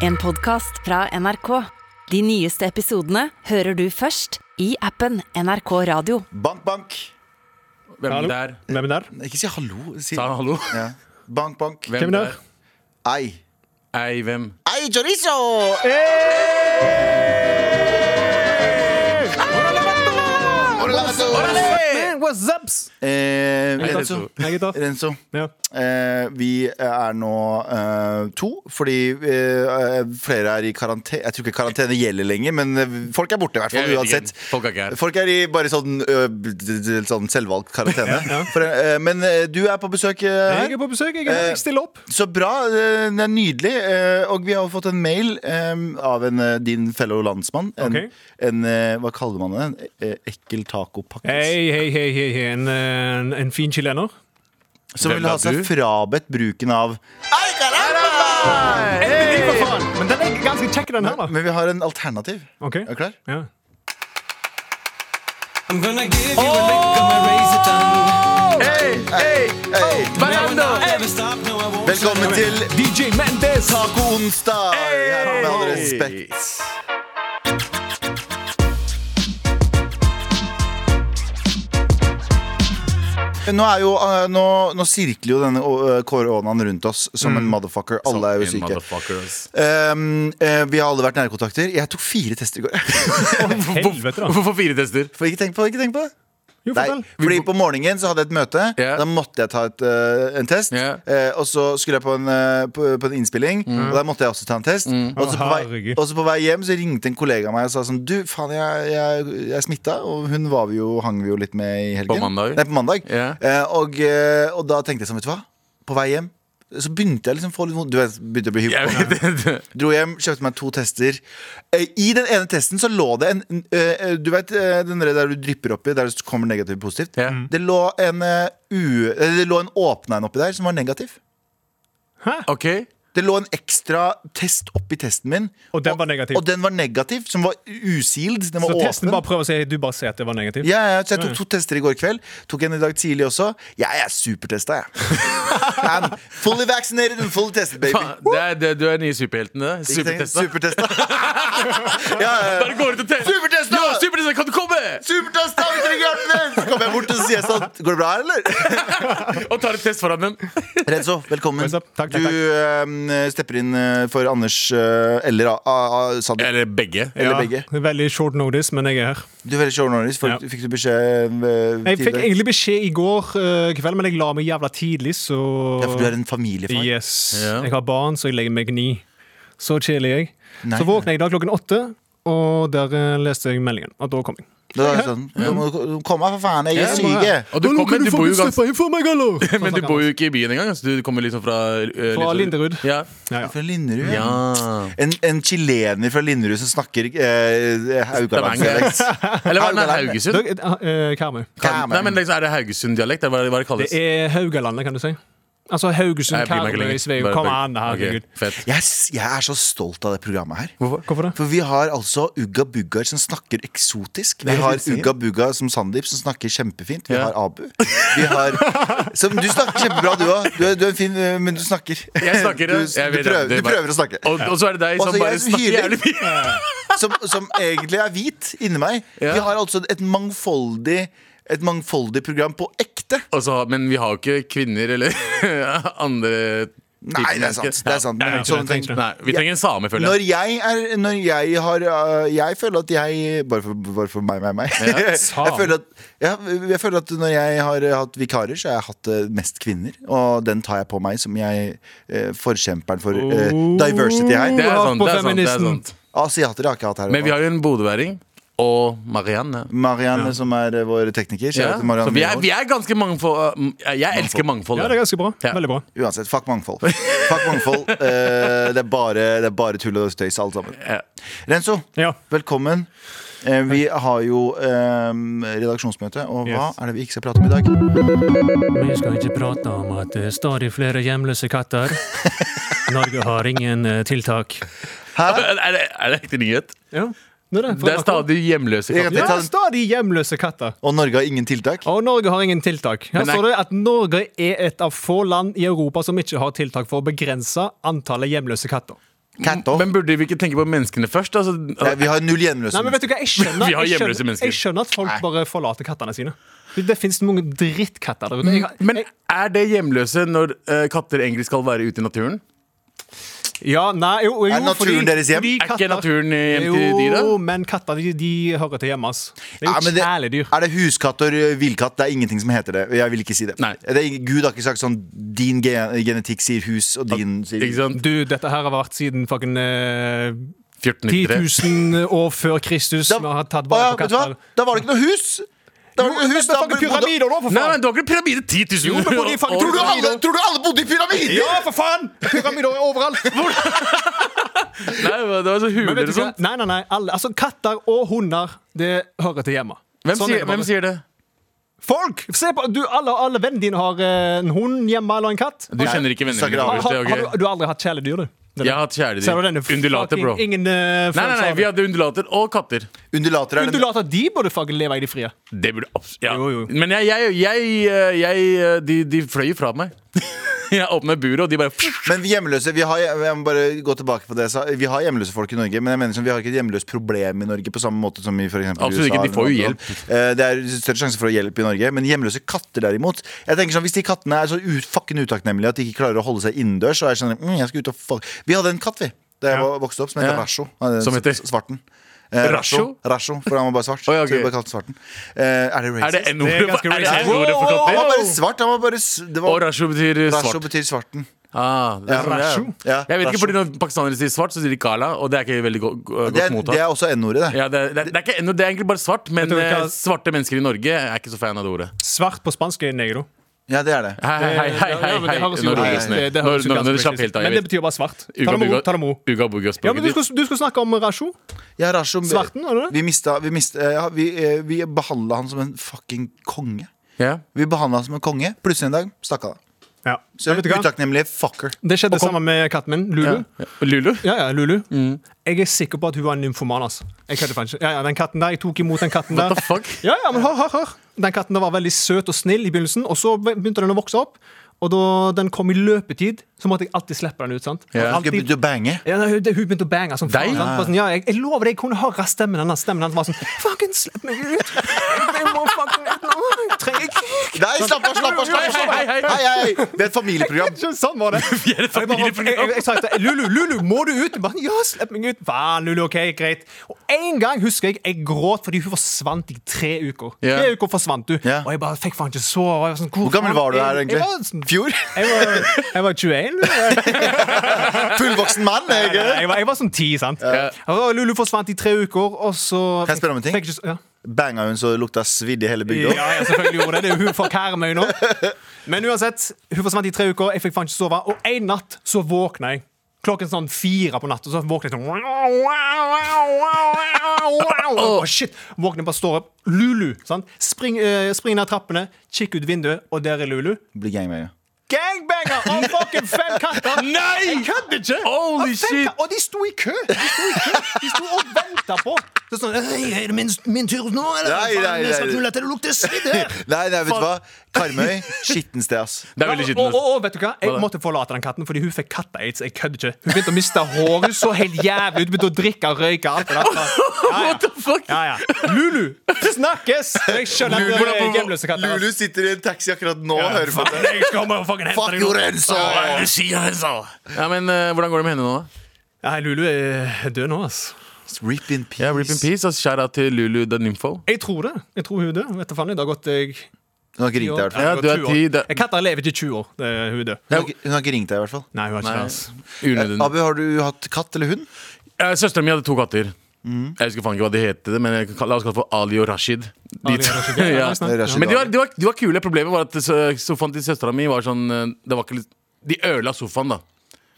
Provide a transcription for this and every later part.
En podcast fra NRK. De nyeste episodene hører du først i appen NRK Radio. Bank, bank. Hvem Hallo? der? Hvem er der? Ikke si hallo. Si Sa han hallo? ja. Bank, bank. Hvem, Hvem der? Ei. Ei, hvem? Ei, chorizo! Hola, Lasso! What's ups? Eh, Hei, Renzo. Lasso. Hei, gutta. Renzo. Ja. Eh, vi er nå eh, to, fordi eh, flere er i karantene. Jeg tror ikke karantene gjelder lenger, men eh, folk er borte i hvert fall Jeg vet uansett. ikke. Folk er ikke her. Folk er i bare sånn, ø, b- d- d- sånn selvvalgt karantene. For, eh, men eh, du er på besøk eh, Jeg her. er på besøk. Jeg, er, jeg stiller opp. Så bra. eh, Det er nydelig. eh, Og vi har fått en mail eh, av en, eh, din fellow landsmann. En, Ok. en eh, hva kaller man det? En eh, ekkel tacopakke. Hei, hei, hei, hei, hei. En, en, en fin chilener. Som Hvem vil ha er seg du? frabedt bruken av Men den er ganske kjekk, den her, da. Men vi har en alternativ. Ok. Er du klar? Ja. I'm gonna give you a lick of my razor tongue. Hei. Now I'll never stop, Oh, no I won't. Velkommen til DJ Mendes! Taco onsdag! Her Med all respekt. Nå, er jo, eh, nå, nå sirkler jo denne eh, koronaen rundt oss som en motherfucker. Alle er jo Mm. En syke. motherfucker, ass. Um, eh, vi har alle vært nærkontakter. Jeg tok fire tester i går. Helvete, da. Hvorfor fire tester? For ikke tenk på det, ikke tenk på det. Jo, Nei, fortell. fordi på morgenen så hadde jeg et møte. Ja. Da måtte jeg ta et, eh, en test. Ja. Mm. Eh, og så skulle jeg på en, eh, på, på en innspilling, og der måtte jeg også ta en test. Og, så Å, på vei, herregud. og så på vei hjem så ringte en kollega av meg og sa sånn Du, faen, jeg, jeg, jeg er smitta. Og hun var vi jo, hang vi jo litt med i helgen. På mandag. Nei, på mandag. Ja. Eh, og, eh, og da tenkte jeg sånn, vet du hva. På vei hjem så begynte jeg liksom å få litt vondt. Du vet, begynte å bli hypp. Jeg vet det. Dro hjem, kjøpte meg to tester. Eh, I den ene testen så lå det en en, eh, Du vet eh, den der du drypper oppi, der det kommer negativt og positivt? Ja. Mm. Det lå en eh, u... eh, Det lå en åpna en oppi der som var negativ. OK. Det lå en ekstra test oppi testen min. Og den var negativ. Og den var negativ, som var usild. Den var Så testen åpen. bare prøver å si du bare sier at det var negativt? Ja, ja, så jeg tok to tester i går kveld. Tok en i dag tidlig også. Jeg er supertesta, jeg. I'm fully vaccinated and fully tested, baby. Faen, det er, det, du er nye superhelten, det. Ikke tenk- Supertesta. Supertesta. ja, ja, ja. Bare går ut og tester. Supertesta! Ja, supertesta, kan du komme? Supertesta, vi trenger hjelpen din! Så kommer jeg bort og sier sånn Går det bra her, eller? Og tar en test foran dem. Renzo, velkommen. What's up? Takk, takk, du eh, stepper inn eh, for Anders eh, eller A- A- A- Sander. Eller begge. Eller Ja, begge. det er Veldig short notice, men jeg er her. Du er veldig short notice. Folk- Ja. Fikk du beskjed eh, Jeg fikk tidligere? egentlig beskjed i går eh, kveld, men jeg la meg jævla tidlig, så Ja, for du er en familiefar. Yes. Ja. Jeg har barn, så jeg legger meg ni. Så kjedelig er jeg. Nei. Så våkna jeg i dag klokken åtte, og der eh, leste jeg meldingen. Og da kom jeg. Da er det sånn, du må du komme, for faen. Jeg Ja, er jeg må syk. jeg. Og du kommer, du bor jo ganske inn for meg, eller? men du bor jo ikke i byen engang. Så du kommer liksom fra eh, liksom- Linderud. Ja. Ja, ja. Fra Linderud. ja. En, en chilener fra Linderud som snakker eh, Stavanger. haugalandsdialekt. Eller var det Haugaland. Da, Haugesund? eh, eh, Karmøy. Damn. Nei, men liksom, Er det Haugesund-dialekt? eller Hva, hva det Det kalles er Haugalandet, kan du si. Altså Haugesund, Jeg bryr meg ikke Karmøy, lenger. Sveio. Bare- Kom bare- an, herregud. Ok, Fett. Jeg, s- jeg er så stolt av det programmet her. Hvorfor det? For vi har altså Ugga Buggar som snakker eksotisk. Vi har Ugga Bugga som Sandeep, som snakker kjempefint. Vi Ja. har Abu. Vi har, som, du snakker kjempebra, du òg. Du, er- du er en fin, øh, men du snakker. Jeg snakker, du, ja. du, Jeg prøver, vet det. Det er du bare- prøver å snakke. Og, og så er det deg som Altså, jeg er bare så snakker hyler. jævlig mye. Som, som egentlig er hvit inni meg. Ja. Vi har altså et mangfoldig et mangfoldig program på ekte. Og så har- men vi har jo ikke kvinner eller andre typer Nei, det er sant. mennesker. Det er sant. Ja, ja, Sånne det er ting. sant. Nei, vi trenger en same, føler jeg. Når jeg er Når jeg har øh, Jeg føler at jeg Bare for, bare for meg, meg, meg. jeg, Sam. føler at, ja, jeg føler at når jeg har øh, hatt vikarer, så har jeg hatt øh, mest kvinner. Og den tar jeg på meg som jeg eh, forkjemperen for eh, diversity Oh. Det her. er Hurra sant, på det er sant, det er feministen. sant. Asiater har jeg ikke hatt her. Men vi har jo en bodøværing og Marianne. Marianne, som er eh, vår tekniker. Ja. kjære til Så Marianne vi er, Myhrvold. vi er ganske mangfold... Jeg, jeg elsker mangfold. Ja, det er ganske bra. Ja. Veldig bra. Uansett, fuck mangfold. Fuck mangfold. Eh, det, er bare, det er bare tull og støys, alt sammen. Ja. Renzo, Ja. velkommen. Eh, vi har jo eh, redaksjonsmøte, og hva Yes. er det vi ikke skal prate om i dag? Vi skal ikke prate om at det er stadig flere hjemløse katter. Norge har ingen eh, tiltak. Er det, er det ekte nyhet? Ja, det er, Det er stadig hjemløse Jeg kan katter. ta den. stadig hjemløse katter. Og Norge har ingen tiltak? Og Norge har ingen tiltak. Her Men jeg- står det at Norge er et av få land i Europa som ikke har tiltak for å begrense antallet hjemløse katter. Cat off. Men burde vi ikke tenke på menneskene først? Altså, Nei, vi har null Nei, men hjemløse. vet du hva, jeg skjønner, Vi har jeg hjemløse skjønner, mennesker. jeg skjønner at folk bare forlater kattene sine. Det, det finnes mange drittkatter der ute. Jeg, har- Mm, men jeg, er det hjemløse når eh, katter egentlig skal være ute i naturen? ja, nei, jo, jo, Er naturen deres hjem? fordi Er ikke katter- naturen eh, hjem til de, da? Jo, men katter de, de hører til hjemme. ass. Det Ja, er jo men det- kjæledyr. Er det huskatt og ø, villkatt? Det er ingenting som heter det. Jeg vil ikke si det. Nei. det er, ing- Gud har ikke sagt sånn Din gen genetikk sier hus, og din sier Ikke sant? Du, dette her har vært siden fucking eh, 1493. 10 000 år før Kristus. Vi har tatt Å ja, vare på vet du hva? katter. Da var det ikke noe hus! Da var det ikke noe hus da fucking bodde- pyramider nå, for Nei, faen! men du har ikke pyramide 10 000 Jo, men hvor de fucking- Tror du, år! alle, tror du alle bodde i pyramider?! Ja, for faen! Pyramider er overalt. Nei, det var så Men huler vet du og sånn. hva? sånt. Nei, nei, nei. Alle, altså, katter og hunder, det hører til hjemme. Hvem, Sånn er sier, det bare. hvem sier det? Folk! Se på, du, alle, alle vennene dine har eh, en hund hjemme eller en katt. Du kjenner ikke vennene Sagrada. dine. Har, Boris, det har, er har, jo du, du har aldri hatt kjæledyr, du? gøy. Jeg har hatt Ser du kjæledyr. denne Undulater, fucking bro. Nei, Ingen uh, nei, nei, vi hadde undulater og katter. Undulater er den Undulater, de burde fucking leve i det frie. Det burde abs- ja. Jo, jo. Men jeg, jeg, jeg, eh, jeg eh, de, de fløy fra meg. Jeg åpna buret, og de bare Men vi hjemløse, vi har, jeg må bare gå tilbake på det jeg sa. Vi har hjemløse folk i Norge, men jeg mener som vi har ikke et hjemløst problem i Norge på samme måte som i for eksempel USA. Absolutt ikke, de får jo eller noe sånt. Eh, Det er større sjanse for å hjelpe i Norge, men hjemløse katter derimot Jeg tenker sånn, Hvis de kattene er så u- fucking utakknemlige at de ikke klarer å holde seg innendørs, så er jeg sånn mm, jeg skal ut og fuck. Vi hadde en katt, vi, da jeg Ja. var- vokste opp, som heter Ja. Rasho. Han er s- Som heter? Svarten. Eh, Rasho? Rasho, for han var bare svart. Å, ja, Så vi ok. bare kalte han Svarten. Eh, er det racist? Er det N-ordet Det er ganske for- er det racist. N-ordet for Han var katter? bare svart. Han var bare s- det Og var, rasho betyr Rasho svart. betyr svarten. Ah, det er Ja. sånn det er. Rasho? Ja, Jeg vet rasho. ikke, fordi Når pakistanere sier svart, så sier de kala, og det er ikke veldig go Det er, go godt det mottatt. er også N-ordet, det. Ja, det, er, det, er- det, er ikke, ennå- det er egentlig bare svart, men Vet du eh, hva- svarte mennesker i Norge er ikke så fan av det ordet. Svart på spansk er negro. Ja, det er det. Hei, hei, hei, hei, hei, Ja, men hei. det høres jo- Nå roer det seg det- ned. det Nå høres nå- jo nå ganske slapp helt racist. av. Men det jeg vet. betyr bare svart. Ta Uga det med ro. buga- Ta det med ro. Uga Ja, men du buga-språket ditt. skulle, du skulle snakke om Rasho. Ja, Rashom, Svarten, var det det? Vi mista Vi, mista, ja, vi, eh, vi behandla han som en fucking konge. Ja. Vi behandla han som en konge. Plutselig en dag stakk han av. Ja. Så vet du hva? Utakknemlige fucker. Det skjedde det samme med katten min, Lulu. Ja. Lulu? Mm. Ja, ja, Lulu. Jeg er sikker på at hun var en nymfoman. Altså. Jeg kødder faen ikke. Ja, ja, den katten der, jeg tok imot den katten der. What the fuck? Ja, ja, men hør, hør, hør. Den katten der var veldig søt og snill i begynnelsen, og så begynte den å vokse opp. Og da den kom i løpetid, så måtte jeg alltid slippe den ut. sant? Ja. Han skulle Alltid- begynne å bange. Ja, nei, hun, hun begynte å bange som faen. Deg? sant? Bare Sånn, ja, jeg, jeg lover deg, jeg kunne høre stemmen hennes. Stemmen hennes var sånn Fucking slipp meg ut! Jeg, jeg må fucking ut nå! Jeg trenger ikke Nei, slapp av, slapp av! slapp av, slapp av. Hei, hei, hei. Hei, hei. Det er et familieprogram. Sånn var det. Vi er et Og jeg bare- familieprogram. Jeg, jeg, jeg sa til henne, Lulu, Lulu, må du ut? Jeg Bare, ja, slipp meg ut. Faen, Lulu, ok, greit. Og en gang husker jeg jeg gråt fordi hun forsvant i tre uker. Ja. Tre uker forsvant du Ja. Og jeg bare fikk faen ikke sove. og jeg var Sånn, Hvor gammel faen var du er- her, Jeg var, egentlig? sånn- Fjor? jeg var, jeg var 21. Lulu. Fullvoksen mann? Jeg. Jeg var, jeg var sånn 10, sant. Og Lulu forsvant i tre uker, og så Kan jeg spørre om en ting? Fikk ikke, ja. Banga hun så det lukta svidd i hele Ja, bygda? ja, selvfølgelig gjorde det. Det er jo hun fra Karmøy nå. Men uansett, hun forsvant i tre uker, jeg fikk faen ikke sove. Og en natt så våkna jeg. Klokken sånn fire på natt, og så våkna jeg sånn Å, shit! Våkner bare står opp. Lulu. sant? Spring, eh, spring ned trappene, kikk ut vinduet, og der er Lulu. Blir gangbanger. Gangbanger av fucking fem katter! Nei! Jeg kødder ikke! Holy Av fem shit! katter, Og de sto i kø! De sto, i kø. De sto og venta på. Så sånn, «Hei, Er det min, min tur nå, eller? Nei, Faen, nei, jeg skal nei. knulle til det lukter svidd her! Nei, nei, vet du hva? Karmøy, skittent sted, ass. Det er veldig Ja, og, skittent. og, og vet du hva? Jeg måtte forlate den katten fordi hun fikk katta-aids. Jeg kødder ikke. Hun begynte å miste hår. Hun så helt jævlig ut. Begynte å drikke og røyke. Alt det der. What the fuck? Ja, ja. ja. Lulu! Snakkes! Jeg skjønner at det er hjemløse katter. Lulu ass. sitter i en taxi akkurat nå og hører på det. Jeg skal komme og fucking hente Fuck deg you, nå. Renzo! Ja, men eh, Hvordan går det med henne nå, da? Nei, Lulu er død nå, ass. Rip in Ja, Rip in peace. peace. Altså, Shout out til Lulu the Nympho. Jeg tror det. Jeg tror hun er død. Vet du faen, det har gått eh, jeg Hun har ikke ringt deg, i hvert fall. Ja, du er ti, det- Katter lever ikke i 20 år. Det er hun er død. Hun har ikke- Hun har ikke ringt deg, i hvert fall. Eh, Nei, hun har ikke Nei. det. ass. Unødvendig. Abu, har du hatt katt eller hund? Eh, Søsteren min hadde to katter. Mm. Jeg husker faen ikke hva de het, men jeg kan- la oss kalle det for Ali og Rashid. De Ali og to- Rashid, ja, ja. det er Rashid Men de var, Ali. de, var, de var kule. Problemet var at so- sofaen til søstera mi var sånn eh, det var ikke, litt- De ødela sofaen, da.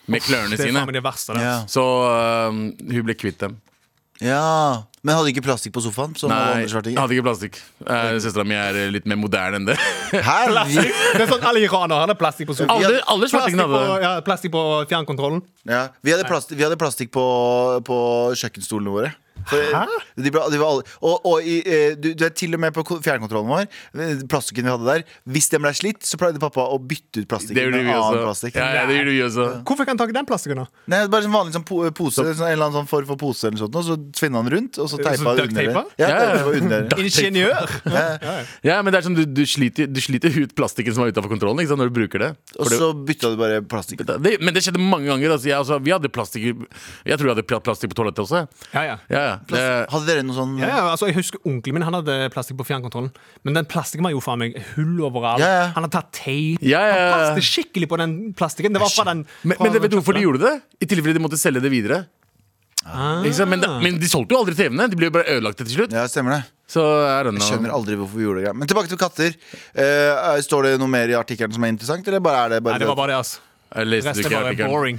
Med klørne Det er faen sine. meg det verste. Det. ass. Så eh, hun ble kvitt dem. Ja, Men hadde ikke plastikk på sofaen? Som alle Nei, andre jeg svartinger hadde ikke plastikk. Uh, Søstera mi er eh, litt mer moderne enn det. Herregud! Det er sånn alle iranere har plastikk på sofaen. Alle, alle svartingene Plastikk på, hadde det. ja, plastikk på fjernkontrollen. Ja, vi hadde plastikk, vi hadde plastikk på, på kjøkkenstolene våre. For, de ble, de var alle, og og i, eh, du, du er til og med på ko- fjernkontrollen vår, eh, plastikken vi hadde der Hvis den ble slitt, så pleide pappa å bytte ut plastikken Det gjorde med vi annen også. plastikk. Ja, ja, det gjorde vi også. Hvorfor kan han tak i den plastikken, da? Nei, det er bare en vanlig sånn po pose, sånn, en eller annen sånn form for pose, eller sånt, og så svinner han rundt, og så teipa han duct under det. tape? Ja, Ja, ja. teipa under det. Ingeniør! Ja, men det er som du, du, sliter, du sliter ut plastikken som er utafor kontrollen ikke sant, når du bruker det. For Og det- så bytta du bare plastikk. det, det. Men det skjedde mange ganger. Altså, jeg, altså, vi hadde plastikk i- Jeg tror jeg hadde pla- plastikk på toalettet også. jeg. Ja, ja. Ja, Eh, ja. Det, Hadde dere noe sånn Ja, ja, altså jeg husker Onkelen min han hadde plastikk på fjernkontrollen. Men den plastikken var jo faen meg hull overalt. Ja, ja. Han hadde tatt teip. Ja, ja, ja. Han passet skikkelig på den plastikken. Det var fra den men, fra men vet du hvorfor de kjøpte den. gjorde det? I tilfelle de måtte selge det videre. Ah. Ikke sant? Men, men de solgte jo aldri TV-ene. De ble jo bare ødelagte til slutt. Ja, stemmer det. Så er det Jeg noe- skjønner aldri hvorfor vi gjorde det. Men tilbake til katter. Eh, står det noe mer i artikkelen som er interessant, eller bare er det bare, Nei, det var bare det, altså. Jeg leste Resten ikke var artikkelen. boring.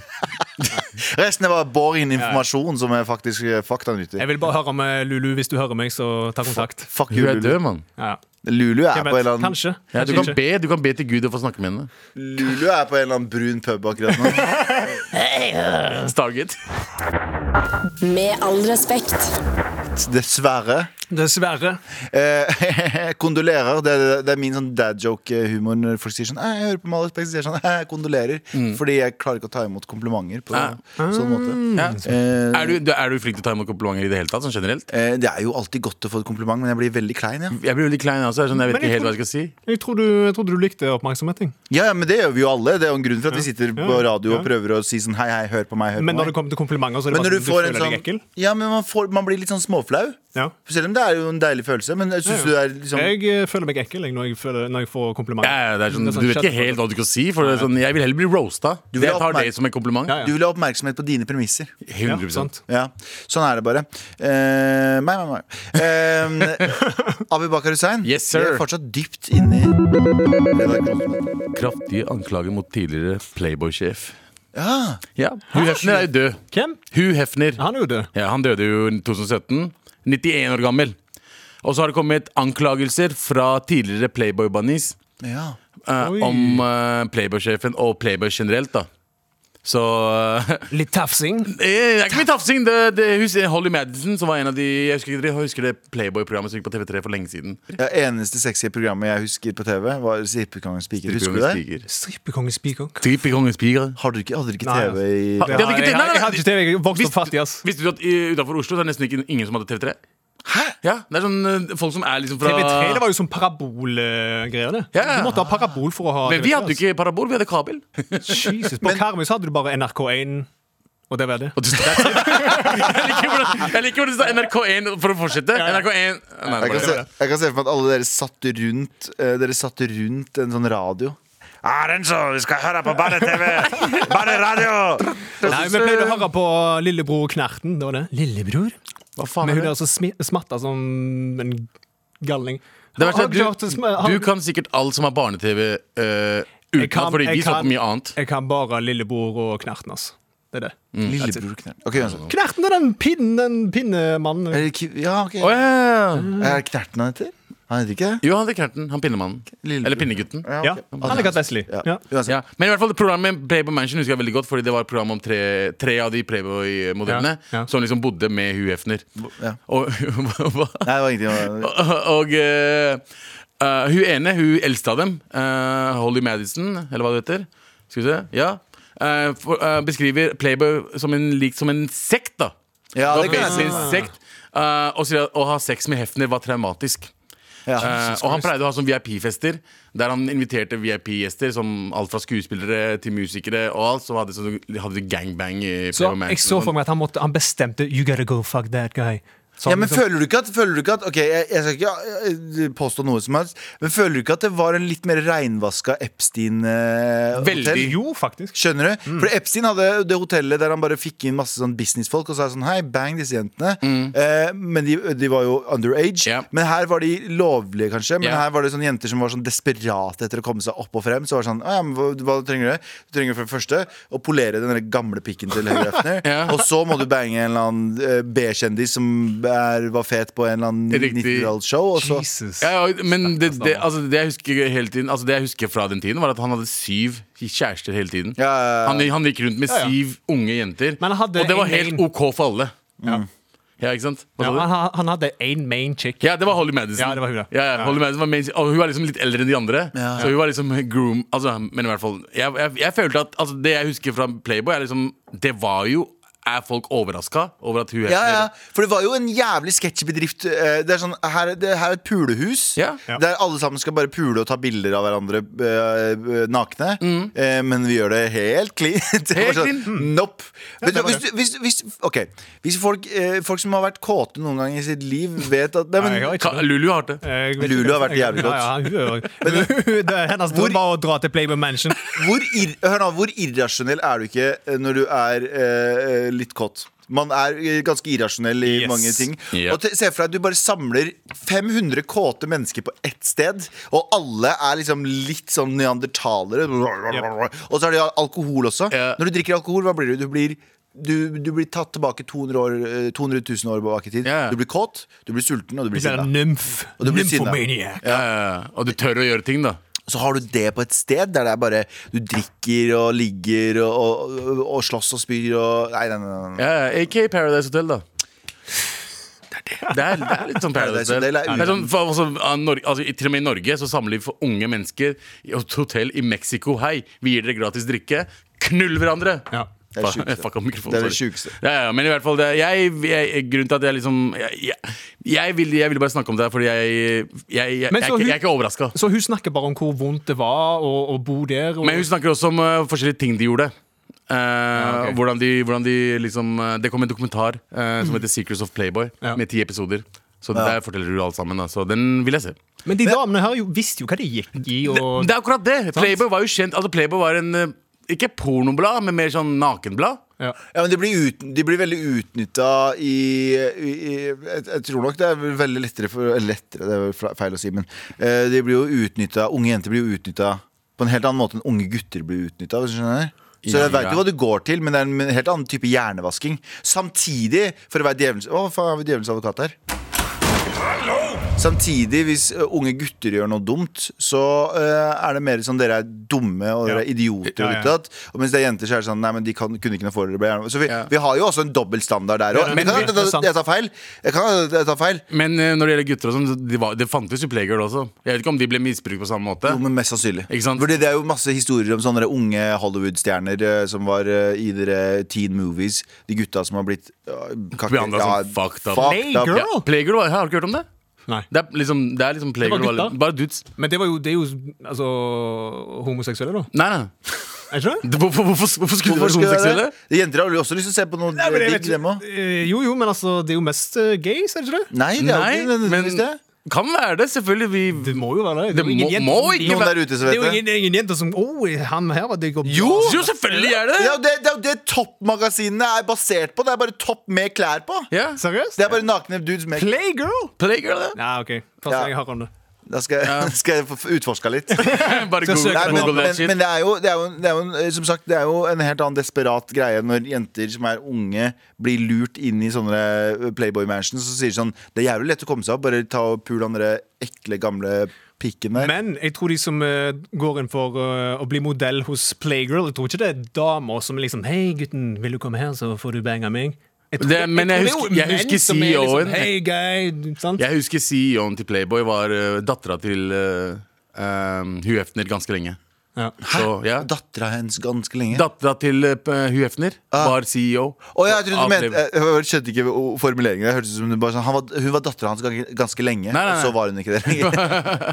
Resten er bare boring informasjon som er faktisk eh, faktanyttig. Jeg vil bare høre om eh, Lulu, hvis du hører meg, så ta kontakt. Fuck you, Hun er Lulu. død, mann. Ja. Lulu er, på Hvem en vet? eller annen, Kanskje. Ja, du, Kanskje kan ikke. be, du kan be til Gud og få snakke med henne. Lulu er på en eller annen brun pub akkurat nå. Stargate. Med all respekt. Dessverre. Dessverre. Eh, kondolerer. Det er, det er min sånn dad joke-humor når folk sier sånn «Eh, Jeg hører på Malek Beck, så sier jeg sånn «Eh, jeg Kondolerer. Mm. Fordi jeg klarer ikke å ta imot komplimenter på Ah. sånn måte. Eh, Er du, du- er du flink til å ta imot komplimenter i det hele tatt? Sånn generelt? eh, det er jo alltid godt å få et kompliment, men jeg blir veldig klein, ja. Jeg blir veldig klein. Altså. Jeg, er sånn, jeg vet Men jeg ikke helt tror- hva jeg skal si. Jeg trodde, jeg trodde du likte oppmerksomhet. jeg. Ja, ja, men det gjør vi jo alle. Det er jo en grunn for at vi sitter på radio og ja. prøver å si sånn hei, hei, hør på meg, hør på Men når meg. det kommer til komplimenter, så er Men det når bare du sånn, du får føler en deg ekkel. sånn Ja, men man, får, man blir litt sånn småflau. Ja. Selv om det er jo en deilig følelse. Men jeg synes du det er liksom Jeg eh, føler meg ekkel jeg, når, jeg føler, når jeg får Ja, komplimenter. ja, det er sånn, Det er sånn du vet ikke kjøtt- helt hva du skal si. For det er sånn, jeg vil heller bli roasta. Du vil Jeg ha tar oppmerk- det som en kompliment. Ja, ja. Du vil ha oppmerksomhet på dine premisser. 100 sant. Ja, Sånn er det bare. Eh, meg, meg, meg. Eh, Abu Bakar Hussein, Yes, sir. vi er fortsatt dypt inni det der kroppsmøtet. Kraftige anklager mot tidligere Playboy-sjef. Ja. Ja. Hu Hefner er jo død. Hvem? Hu Hefner. Han er jo død. Ja, han døde jo i 2017. 91 år gammel. Og så har det kommet anklagelser fra tidligere Playboy-bunnies ja. eh, Oi. om eh, Playboy-sjefen og Playboy generelt, da. Så eh, Litt tafsing. Det er ikke mye tafsing. Det, det, hus- Holly Madison, som var en av de Jeg husker, ikke- jeg husker det Playboy-programmet som gikk på TV3 for lenge siden. ja Eneste sexy programmet jeg husker på TV, var Strippekongens piker. Husker du det? Strippekongens piker. Strippekongens pikok. Strippekongens piker. Hadde du ikke, hadde du ikke Nei, TV i Ha- det hadde ikke- jeg, nei, nei, jeg, nei. hadde ikke TV. Jeg vokste opp Visste- fattig, ass. Visste du at utafor Oslo så er det nesten ikke ingen som hadde TV3? Hæ? Ja, det er sånn eh, folk som er liksom fra TV3 det var jo sånn parabolgreier, det. Ja. Du måtte ha parabol for å ha Men vi TV3, hadde jo ikke parabol, vi hadde kabel. ass. Jesus, På Karmøy så hadde du bare NRK1, og det var det. Og du- jeg liker hvordan- jeg liker hvordan det står NRK1 for å fortsette. NRK1 Nei, Jeg bare- kan, se, jeg kan se for meg at alle dere satt rundt eh, Dere satt rundt en sånn radio. Ah, Renzo, pues vi skal høre på Barne-TV! Barne-radio! Nei, Vi pleide å høre på lillebror Knerten. Det var det. Lillebror? Hva faen Med er det? hun der som smi- smatta som en galning. Det verste er Har- har ikke hørt at det sm- du, har- du kan sikkert alt som er barne-TV eh, Jeg utenat, fordi jeg vi så kan- på mye annet. Jeg kan bare Lillebror og Knerten, altså. Det er det. Mm. Lillebror Knert. Ok, Jonsson. Knerten er den pinnen, den pinnemannen. Er det Ki- Ja, ok. Å, ja. Er det Knerten han heter? Han heter ikke det? Jo, han heter Knerten. Han pinnemannen. Lillebror. Eller pinnegutten. Ja, Ja. ok. Han er Kat Wesley. Ja. Ja. Uansett. Ja. Men i hvert fall det programmet Playboy Mansion husker jeg veldig godt, Fordi det var et program om tre, tre av de Playboy-modellene Ja, ja. som liksom bodde med Hugh Hefner. ja. Og, og, Nei, det var ingenting. og eh, eh, hun ene, hun eldste av dem, eh, Holly Madison, eller hva det heter, skal vi se, ja, eh, for, eh, beskriver Playboy som en, lik som en sekt, da. Ja, det det kan var jeg basically en si. sekt. eh, og sier at å ha sex med Hefner var traumatisk. Ja. Eh, og han pleide å ha sånn VIP-fester der han inviterte VIP-gjester som alt fra skuespillere til musikere og alt, som hadde, sånn, hadde gangbang i Så Playboy jeg så Mansion. for meg at han, måtte, han bestemte You gotta go fuck that guy. Så Ja, han men liksom- føler du ikke at, føler du ikke at Ok, jeg, jeg skal ikke eh, påstå noe som helst, men føler du ikke at det var en litt mer reinvaska eh, Epstein-hotell? Veldig. Jo, faktisk. Skjønner Mm. du? For Epstein hadde det hotellet der han bare fikk inn masse sånn businessfolk og sa sånn Hei, bang disse jentene. Eh, men de, de var jo underage. Mm. Ja. Men her var de lovlige, kanskje. Men Ja. her var det sånne jenter som var sånn desperate etter å komme seg opp og frem. Så var det sånn «Å ja, men hva, hva trenger du? Du trenger for det første å polere den der gamle pikken til Høyre Hefner. Ja. Og så må du bange en eller annen eh, B-kjendis som er, var fet på en eller annen Riktig. 90-tallsshow. Og så Jesus. Ja, ja, men det, det, altså, det, jeg husker hele tiden, altså, det jeg husker fra den tiden, var at han hadde syv kjærester hele tiden. Ja, ja, ja. Han, han gikk rundt med Ja, ja. syv unge jenter, Men han hadde og det var en helt main. Mm. OK for alle. Ja. Ikke Ja, ikke sant? Hva Ja, sa du? han, han hadde én main chick. Ja, det var Holly Madison. Ja, det var hun, ja. ja. ja, Holly Madison var main, og hun var liksom litt eldre enn de andre. Så hun var liksom groom altså, Men i hvert fall jeg, jeg, jeg følte at altså, Det jeg husker fra Playboy, er liksom Det var jo Er folk overraska over at hun Ja, ja, for det var jo en jævlig sketchy bedrift. eh, Det er sånn, her, er- det her er et pulehus Ja. Ja. der alle sammen skal bare pule og ta bilder av hverandre eh, eh, nakne. Eh, men vi gjør det helt cleant. Det var Mm. Helt sånn, clean. Mm. Nope. Vet du, det var hvis, du- hvis, hvis, ok. hvis folk, eh, folk som har vært kåte noen gang i sitt liv, vet at nei, Nei, jeg men, har Ka- Lulu har det. Jeg vet Lulu ikke. har vært jævlig godt. Ja, ja, hun, hun, det, hennes Hvor- drøm var å dra til Playboy Mansion. hvor, ir, hør nå, hvor irrasjonell er du ikke eh, når du er eh, litt kåt? Man er eh, ganske irrasjonell i Yes. mange ting. Ja. Og te, Se for deg at du bare samler 500 kåte mennesker på ett sted, og alle er liksom litt sånn neandertalere. Og så er det jo alkohol også. Ja. Når du drikker alkohol, hva blir du? Du blir du, du blir tatt tilbake 200, år, eh, 200 000 år tilbake i tid. Ja. Du blir kåt, du blir sulten, og du blir Hun er sinna. en nymf. Og du blir sinna. Nymphomaniac. Ja, ja, ja. Og du tør å gjøre ting, da. Så har du det på et sted der det er bare du drikker og ligger og, og, og, og slåss og spyr og Nei, nei, nei. nei. Ja, ja, AK Paradise Hotel, da. Det er, det er litt sånn Paradise Paradise Hotel Hotel. er Det er sånn, for, altså, av Nor- altså, i- til og med i Norge så samler vi for unge mennesker i et hotell i Mexico. Hei, vi gir dere gratis drikke. Knull hverandre! Ja. Det er sjukt, det. Fuck opp mikrofonen, Det er det sorry. sjukeste. Ja, ja, men i hvert fall det, jeg, jeg, Grunnen til at jeg liksom Jeg, jeg, jeg, vil, jeg vil bare snakke om det her, fordi jeg, jeg, jeg, jeg, Men er så ikke- hun- jeg er ikke overraska. Så hun snakker bare om hvor vondt det var å, å bo der. Og, Men hun snakker også om eh, forskjellige ting de gjorde. Eh, ok. hvordan, de, hvordan de liksom eh, Det kom en dokumentar eh, som heter 'Secrets of Playboy', Ja. med ti episoder. Så der forteller du alt sammen. Da. Så den vil jeg se. Men de damene her jo, visste jo hva de gikk i. Og, Det er akkurat det! Playboy var jo kjent Altså Playboy var en eh, ikke pornoblad, men mer sånn nakenblad. ja. Ja, men de blir, ut, de blir veldig utnytta i, i, i jeg, jeg tror nok det er vel veldig lettere for eller Lettere, det er vel fra- feil å si, men eh, de blir jo utnyttet, Unge jenter blir jo utnytta på en helt annen måte enn unge gutter blir utnytta. Så Ja, jeg veit ja. jo hva du går til, men det er en helt annen type hjernevasking. Samtidig, for å være djevelens Å, faen, har vi djevelens advokat her? Samtidig, hvis ø, unge gutter gjør noe dumt, så ø, er det mer sånn dere er dumme og dere Ja. er idioter. Og Ja, ja. ditt og datt. Og mens det er jenter, så er det sånn Nei, men de kan, kunne ikke noe for det. ble gjerne- Så vi, Ja. vi har jo også en dobbeltstandard der òg. Men Ja, men kan- det er sant. Jeg tar feil. Jeg kan jeg tar feil. Men eh, når det gjelder gutter og sånn, så de var- det fantes jo playgirl også. Jeg vet ikke om de ble misbrukt på samme måte. Jo, men mest sannsynlig. Ikke sant? Fordi det er jo masse historier om sånne unge Hollywood-stjerner ø, som var ø, i dere teen movies. De gutta som har blitt uh, Behandlet som fucked up. Playgirl? Ja, playgirl var, Har du ikke hørt om det? Nei. Det er liksom, det er liksom playgirl gutta. var- Bare dudes. Men det, var jo, det er jo altså, homoseksuelle, da. Nei, nei. Er ikke det? Det- Hvorfor, hvorfor, hvorfor skulle Hvorfor det skulle være jeg det? homoseksuelle? Jenter har jo også lyst til å se på noe Nei, men jeg digg, vet dem òg. ikke. Eh, Jo, jo, men altså, det er jo mest eh, gays, er det ikke det? Nei, det er jo ikke Nei, men nødvendigvis det. kan være det. Selvfølgelig. Vi Det må jo være det. Det er jo ingen må- jenter må som- ikke Noen der ute som Det er vet jo det. ingen, ingen jenter som Å, han her var digg og bra. jo, jo, selvfølgelig er det Det det! er jo det, det, er jo det toppmagasinene er basert på. Det er bare topp med klær på. Ja. Seriøst? Det er bare nakne dudes med Playgirl? Playgirl, det. Ja, OK. Første Ja. gang jeg hører om det. Da skal jeg, skal jeg få utforska litt. Bare Så google, Nei, men, google that men, shit. men det er jo, det er jo, det er jo en, eh, som sagt, det er jo en helt annen desperat greie når jenter som er unge, blir lurt inn i sånne eh, Playboy Mansions og sier sånn Det er jævlig lett å komme seg opp, bare ta og pul han derre ekle, gamle pikken der. Men jeg tror de som eh, går inn for eh, å bli modell hos Playgirl Jeg tror ikke det er damer som er liksom Hei, gutten, vil du komme her, så får du bange meg? Jeg tror- Det- men jeg tror husker- det er jo jeg menn husker som er liksom, CEO-en. Hei, guy, sant? Jeg husker CEO-en til Playboy var uh, dattera til uh, um, Hugh Hefner ganske lenge. Ja. Så, ja. Dattera hennes ganske lenge. Dattera til uh, Hugh Hefner var CEO. Ah. Å, ja, jeg, trodde du av mente, Playboy. jeg, jeg skjønte ikke o- formuleringen. Jeg hørte ut som det bare sånn, han var, Hun var dattera hans ganske, ganske lenge, Nei, nei, og nei. så var hun ikke det lenger.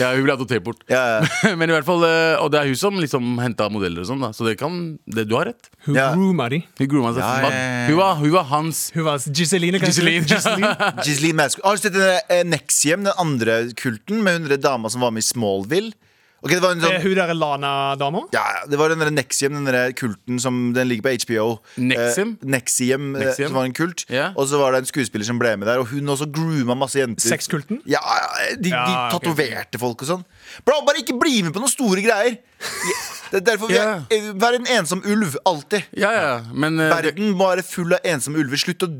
ja, hun ble adoptert bort. Ja, ja. men i hvert fall, uh, Og det er hun som liksom henta modeller og sånn, da. Så det kan det, Du har rett. Hun Ja. grooma de. Hun grooma seg. Ja, ja, ja, ja. Hun, var, hun var hans Hun var Giseline, kanskje? Giseline. Ghislaine Mask Har du sett den der, eh, Nexium, den andre kulten Med hun der dama som var med i Smallville Ok, det var en Er sånn hun der Lana-dama? ja, ja, det var den der Nexium, den der kulten som den ligger på HBO Nexium? Eh, Nexium, eh, Nexium? som var en kult Ja. Og så var det en skuespiller som ble med der Og hun også grooma masse jenter Sexkulten? Ja, ja, de, de Ja, ok. tatoverte folk og sånn Bra, bare ikke bli med på noen store greier Det er derfor vi Ja. er, eh, Vær en ensom ulv, alltid Ja, ja, men uh, det- Verden bare full av ensomme ulver. Slutt å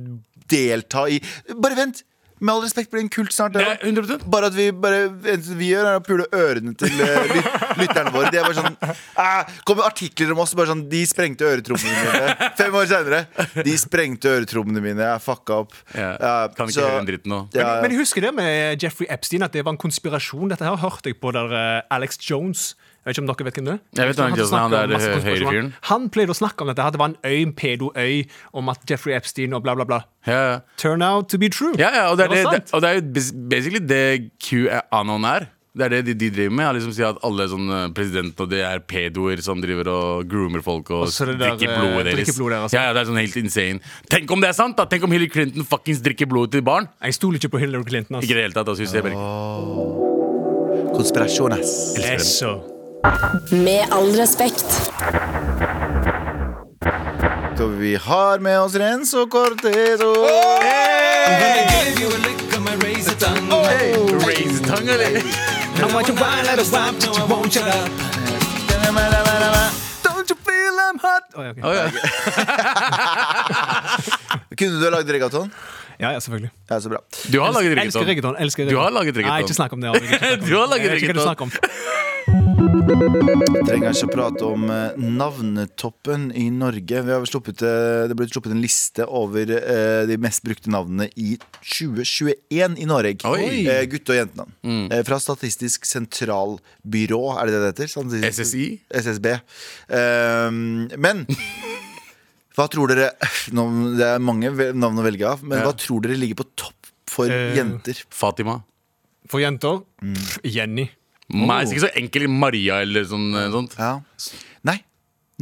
delta i Bare vent! Med all respekt blir det en kult snart. det Det er også. 100%. Bare at vi bare det eneste vi gjør, er å pule ørene til eh, lyt, lytterne våre. De er bare sånn eh, Kommer artikler om oss bare sånn De sprengte øretrommene mine. Fem år seinere. De sprengte øretrommene mine. Jeg fucka opp. Ja, Eh, kan ikke så- høre en dritt nå. Ja, Men jeg husker det med Jeffrey Epstein, at det var en konspirasjon. Dette her hørte jeg på der eh, Alex Jones Jeg vet ikke om dere vet hvem det er? Jeg vet hvem Alex Jones er, han snakket om der masse hø- konspirasjoner. høyrefyren. Han pleide å snakke om dette. her, Det var en øy, en pedo-øy, om at Jeffrey Epstein og bla, bla, bla. Ja, ja. Turn out to be true. Ja, ja, og det er, Det det, var sant. det, og det er jo bas- basically det QAnon er. Det er det de, de driver med. er Liksom si at Alle sånne presidenter og det er pedoer som driver og groomer folk og, Og så det der, drikker eh, blodet deres. drikker blodet deres, ja, ja, det er sånn helt insane Tenk om det er sant! da Tenk om Hillary Clinton fuckings drikker blodet til barn! Jeg stoler ikke på Hillary Clinton. Ikke i Altså. det hele tatt. Altså, jeg bare ikke. Konspirasjon, ass. elsker dem. Så. Med all respekt. Så vi har med oss Renzo Cortero. I'm gonna give you a lick on my razor tongue. Raise tongue, eller? I want you right, let us stop, no, I won't shut up. Don't you feel I'm hot? Å, ja, ok. Å, ja. Kunne du ha lagd reggaeton? ja, ja, selvfølgelig. Ja, så bra. Du har laget Elsker reggaeton. reggaeton. Elsker Du har laget reggaeton. Nei, ikke snakk om det. Ari. Ikke snakk om det. Du har laget Jeg vet ikke hva du reggaeton. snakker om. Trenger ikke å prate om eh, navnetoppen i Norge. Vi har sluppet, eh, det ble sluppet en liste over eh, de mest brukte navnene i 2021 i Norge. Oi. Mm. Eh, gutte- og jentenavn. Eh, fra Statistisk sentralbyrå, er det det det heter? Statistisk- SSI? SSB. Eh, men hva tror dere nå, Det er mange ve- navn å velge av, men Ja. hva tror dere ligger på topp for Eh, jenter? Fatima. For jenter pff, Jenny. Nei, det er ikke så enkel Maria eller sånn, eh, sånt. Ja. Nei.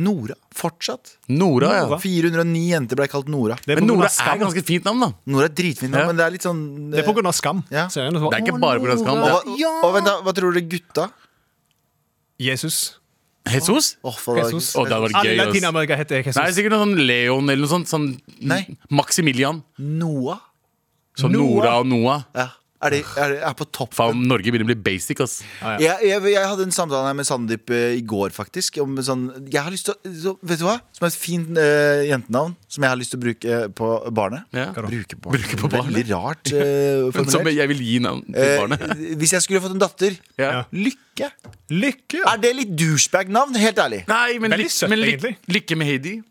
Nora. Fortsatt. Nora, ja. 409 jenter ble kalt Nora. Det er Men på grunn Nora av er skam. ganske fint navn, da. Nora er dritfin, navn, Ja. men det er litt sånn Det er på grunn av skam. Ja. Serien, så- Det er ikke bare pga. og, skam. det hva, og vent da, hva tror dere gutta? Jesus. er- Jesus? Åh, for det er- Jesus. Å, det hadde vært Alle i gøy. ass. Latin-Amerika heter Jesus. Nei, sikkert noe sånn Leon eller noe sånt. Sånn Nei. Maximilian. Noah? Så Nora og Noah. Ja. Er det er, det, er på topp? Faen, Norge begynner å bli basic, ass. Jeg, jeg, jeg hadde en samtale her med Sandeep eh, i går, faktisk. Om sånn, jeg har lyst til å så, Vet du hva? Som er et fint eh, jentenavn som jeg har lyst til å bruke eh, på barnet. Ja. Bruke barnet. Bruke på barnet. Veldig rart eh, Men som formulert. jeg vil gi navn til barnet. Eh, hvis jeg skulle fått en datter Ja. Lykke. Lykke! Er det litt douchebag-navn? Helt ærlig. Nei, men, Veldig lyk, søtt, men lyk, egentlig. lykke med Heidi.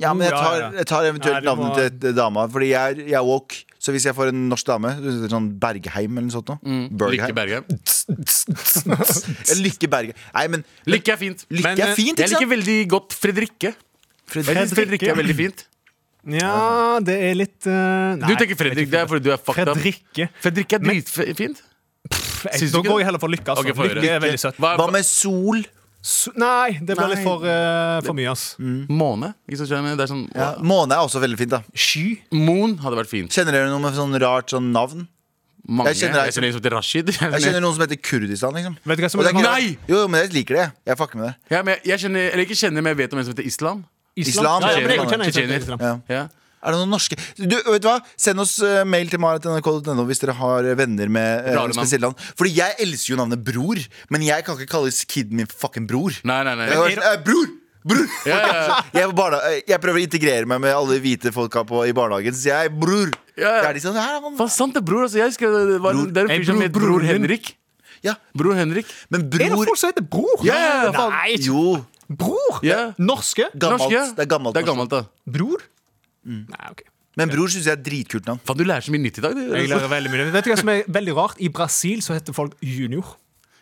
Ja, men jeg Ja, tar, ja, ja. jeg tar Nei, eventuelt du må- navnet til et- eh, dama, fordi jeg, er- jeg er woke. Så hvis jeg får en norsk dame, du heter sånn Bergheim eller noe sånt nå. Bergheim. Mm. Lykke Bergheim. Ja, Lykke Bergheim. Nei, men Lykke er fint. Lykke Men, er eh, fint, Jeg ikke sant? liker veldig godt Fredrikke. Jeg synes Fredrikke er veldig fint. Ja, det er litt eh, Du nei, tenker Fredrik, det er fordi du er fucked up. Fredrikke. Fredrikke er dritfint. Pff, jeg- Syns du Da ikke går det? jeg heller for lykke. Altså. Ok, få høre. lykke er veldig søtt. Hva Hva er med Sol? S- Nei, det ble Nei. Mm. litt for, eh, for mye, ass. måne? Ikke sant, skjønner jeg? Det er sånn, Ja. Måne er også veldig fint, da. Sky. Moon hadde vært fint. Kjenner dere noe med sånn rart sånn navn? Mange. Jeg Jeg kjenner deg- kjenner en som heter Rashid. Jeg Jeg kjenner kjenner, noen som heter Kurdistan, liksom. Vet du hva som Og det er er ikke- Nei! Jo, jo, men jeg liker det. Jeg fucker med det. ja, men jeg, jeg kjenner, eller ikke kjenner, men jeg vet om en som heter Islam. Islam. Ja, ja, men jeg Tsjetsjener. kjenner Tsjetsjener. Islam. Islam. Ja. Ja. Er det noen norske du, vet du hva? Send oss eh, mail til maratnrk.no hvis dere har venner med uh, Rare navn. spesielle navn. Fordi jeg elsker jo navnet Bror, men jeg kan ikke kalle kiden min fucking Bror. Nei, nei, nei. Jeg, var sånn, eh, bror! Bror! Ja, ja, ja. Jeg, var barna, eh, jeg prøver å integrere meg med alle hvite folka på, i barnehagen, så jeg er bror. Ja, ja. Så er de sånn, "Hæ, han- Faen, sant det, bror. Altså, jeg husker det, det var, Bror. det er en fyr som Bror- het Bror broren din. Henrik. ja, Bror Henrik. men Er det bror folk som heter Bror? Ja, ja, ja, faen. Nei, ikke Jo, Bror? Ja. Norske? gammelt. Norsk, ja. Det er gammelt. Det er norsk. gammelt da Bror? Mm. Nei, ok. Men bror syns jeg er et dritkult navn. Faen, du lærer så mye nytt i dag. du. Jeg lærer veldig mye. Vet du hva som er veldig rart? I Brasil så heter folk junior.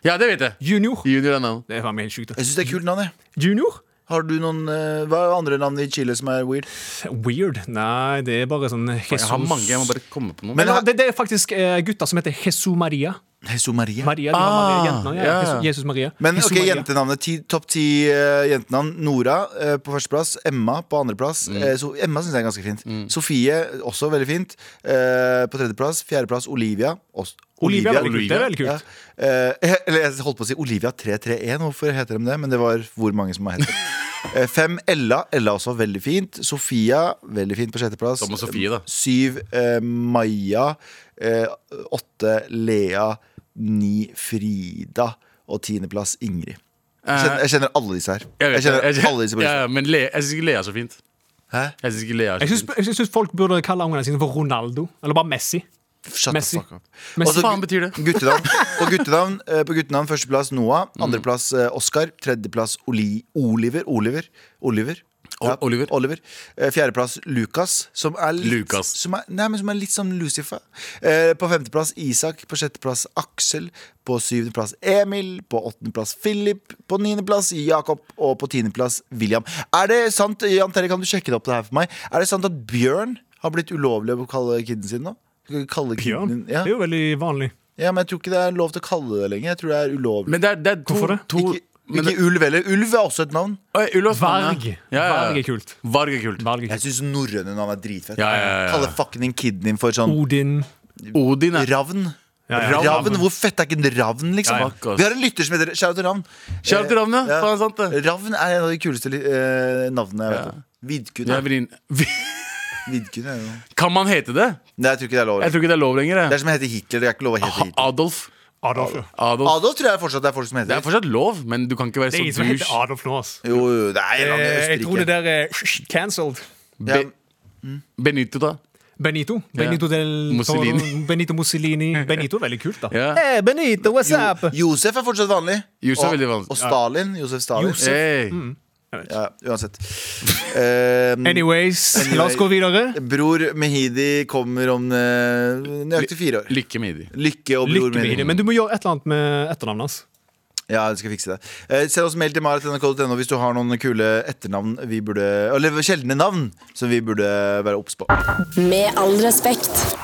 Ja, det vet jeg. Junior. Junior er navn. Det er faen meg helt sjukt. Jeg syns det er et kult navn, jeg. Junior? Har du noen eh, Hva er andre navn i Chile som er weird? Weird. Nei, det er bare sånn Jesus Jeg har mange, jeg må bare komme på noe. Men- Eller, det, det er faktisk eh, gutter som heter Jesu Maria. Jesu Maria. Maria, de har Ah, Maria jentene, ja. ja. Jesus, Jesus Maria. Men Jesu ok, Maria. jentenavnet, ti, topp ti eh, jentenavn. Nora eh, på førsteplass, Emma på andreplass. Mm. Eh, so, Emma syns jeg er ganske fint. Sofie også veldig fint. Eh, på tredjeplass, fjerdeplass Olivia. Også, Olivia, er veldig kult. Det er veldig Ja. kult. Eh, eller jeg holdt på å si Olivia 331, hvorfor heter de det? Men det var hvor mange som har hett det. Eh, Fem Ella. Ella også veldig fint. Sofia, veldig fint på sjetteplass. Som og Sofie, da. Syv eh, Maja. Eh, åtte Lea. Ni Frida. Og tiendeplass Ingrid. Jeg kjenner, jeg kjenner alle disse her. Jeg, vet kjenner det. Eh, Jeg- alle disse på ja, listen. ja, Men Le, jeg syns ikke Lea er så fint. Hæ? Jeg synes ikke Lea er Jeg så syns, fint jeg syns folk burde kalle ungene sine for Ronaldo. Eller bare Messi. Shut Messi. the fuck up. Men Hva Altså, faen betyr det? Guttenavn. På guttenavn, eh, på guttenavn førsteplass Noah, Mm. andreplass eh, Oscar, tredjeplass Oli, Oliver. Oliver. Oliver. O- Oliver. Eh, Fjerdeplass Lukas, som er litt, Lukas. Som er, nei, men som er litt som Lucifer. Eh, på femteplass Isak, på sjetteplass Aksel, på syvendeplass Emil, på åttendeplass Philip, på niendeplass Jakob og på tiendeplass William. Er det sant, Jan Terje, kan du sjekke det opp det her for meg? Er det sant at Bjørn har blitt ulovlig å kalle kiden sin nå? Skal vi kalle kiden Bjørn. din- Ja. Det er jo veldig vanlig. Ja, men jeg tror ikke det er lov til å kalle det lenger. Jeg tror det er ulovlig. Men det er, det er to, Hvorfor det? to ikke ikke ulv heller. Ulv er også et navn. Oi, Ulla Spanne. Varg. Ja, ja, ja. Varg er kult. Varg er kult. Valg er Jeg kult. syns norrøne navn er dritfett. Ja, ja, ja, ja. Kalle fucking din kiden din for sånn Odin. Odin er ravn. Ja, ja. Ravn. Hvor fett er ikke en ravn, liksom? Ja, ja. Fuck, ass. Vi har en lytter som heter Shout til Ravn. Shout out til Ravn, ja. Eh, Faen, sant det. Ravn er en av de kuleste eh, navnene jeg vet om. Vidkun. Jeg Ja. er vrien. Vidkun er jo Kan man hete det? Nei, jeg tror ikke det er lov. Jeg tror ikke det er lov lenger. Det jeg. er som å hete Hitler. Det er ikke lov å hete Hitler. Adolf. Adolf, ja. Adolf. Adolf tror jeg fortsatt det er folk som Det heter. er fortsatt lov, men du kan ikke være Det så er ingen som douche. heter Adolf nå, ass. Jo, jo, det er en eller annen i Eh, Jeg tror Østerrike. det der er cancelled. Ja, Be- Benito, da. Benito. Benito del Mussolini. Benito Mussolini. Benito er veldig kult, da. Ja. Hey, Benito, what's up? Josef er fortsatt vanlig. Josef er og, veldig vanlig. og Stalin. Josef Stalin. Hey. Mm. Ja, uansett. Ehm, Anyways, la oss gå videre. bror Mehidi kommer om eh, nøyaktig fire år. Lykke med de. Lykke og bror Lykke med det, men du må gjøre et eller annet med etternavnet hans. Ja, jeg skal fikse det. Eh, send oss mail til marit.nrk.no hvis du har noen kule etternavn vi burde Eller sjeldne navn som vi burde være obs på. Med all respekt.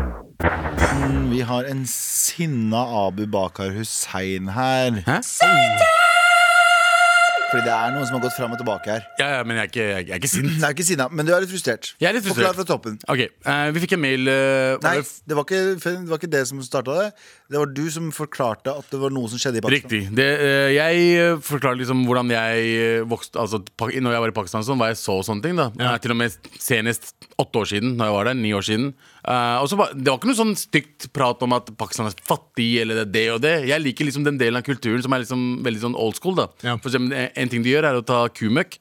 Mm, Vi har en sinna Abu Bakar Hussein her. Hæ? Fordi det er noen som har gått fram og tilbake her. Ja, ja, men jeg er ikke, jeg er- jeg er ikke sint. Det er ikke sinna, men du er litt frustrert. Jeg er litt frustrert. Forklar fra toppen. Ok, eh, Vi fikk en mail eh, var Nei, det f- det var ikke det, var ikke det som starta det. Det var du som forklarte at det var noe som skjedde i Pakistan. Riktig. Det, eh, jeg eh, forklarer liksom hvordan jeg eh, vokste Altså, pa- Når jeg var i Pakistan, sånn, var jeg så sånne ting. da Eh, Til og med senest åtte år siden. Når jeg var der, ni år siden Eh, og så var, Det var ikke noe sånn stygt prat om at Pakistan er fattig eller det, er det og det. Jeg liker liksom den delen av kulturen som er liksom veldig sånn old school. da Ja. For eksempel, eh, En ting de gjør, er å ta kumøkk.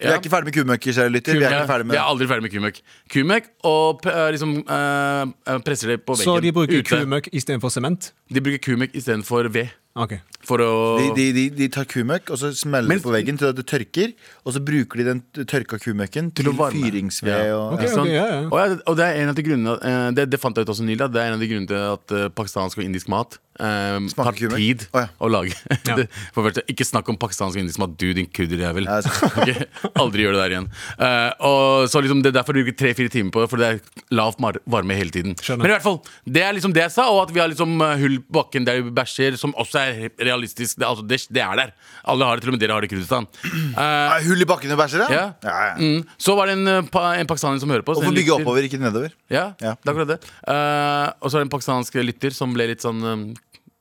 Vi er ikke ferdig med kumøkker, kjære lytter. Vi er ikke ferdig med Vi er aldri ferdig med kumøkk. Kumøkk og p- eh, liksom eh, presser det på veggen. Så de bruker ute. kumøkk istedenfor sement? De bruker kumøkk istedenfor ved. Ok. For å De, de, de, de tar kumøkk, og så smeller Men- det på veggen til at det tørker. Og så bruker de den tørka kumøkken til, å varme. fyringsved. Ja. Og, Ok, Sånn. ok, ja, ja. Og, ja, og det er en av de grunnene eh, det, det fant jeg ut også nylig at Det er en av de grunnene til at eh, pakistansk og indisk mat eh, tar Smaker kumøkk. tid Å, ja. å lage. Ja. det, for det første, ikke snakk om pakistansk og indisk mat, du din kudderjævel. Ja, sant. Ok, Aldri gjør det der igjen. Eh, og så liksom Det er derfor du bruker tre-fire timer på det, for det er lavt mar- varme hele tiden. Skjønner. Men i hvert fall, det er liksom det jeg sa, og at vi har liksom eh, hull på bakken der vi bæsjer, som også er he- realistisk. Det, altså, det, det er der. Alle har det, til og med dere har det i Kurdistan. Eh, Er hull i bakken og bæsjer, Ja. ja, ja. Mm. Så var det en, eh, pa en pakistaner som hører på. oss, Og får en bygge lytter. oppover, ikke nedover. Ja, Ja. det er akkurat det. Eh, og så er det en pakistansk lytter som ble litt sånn eh,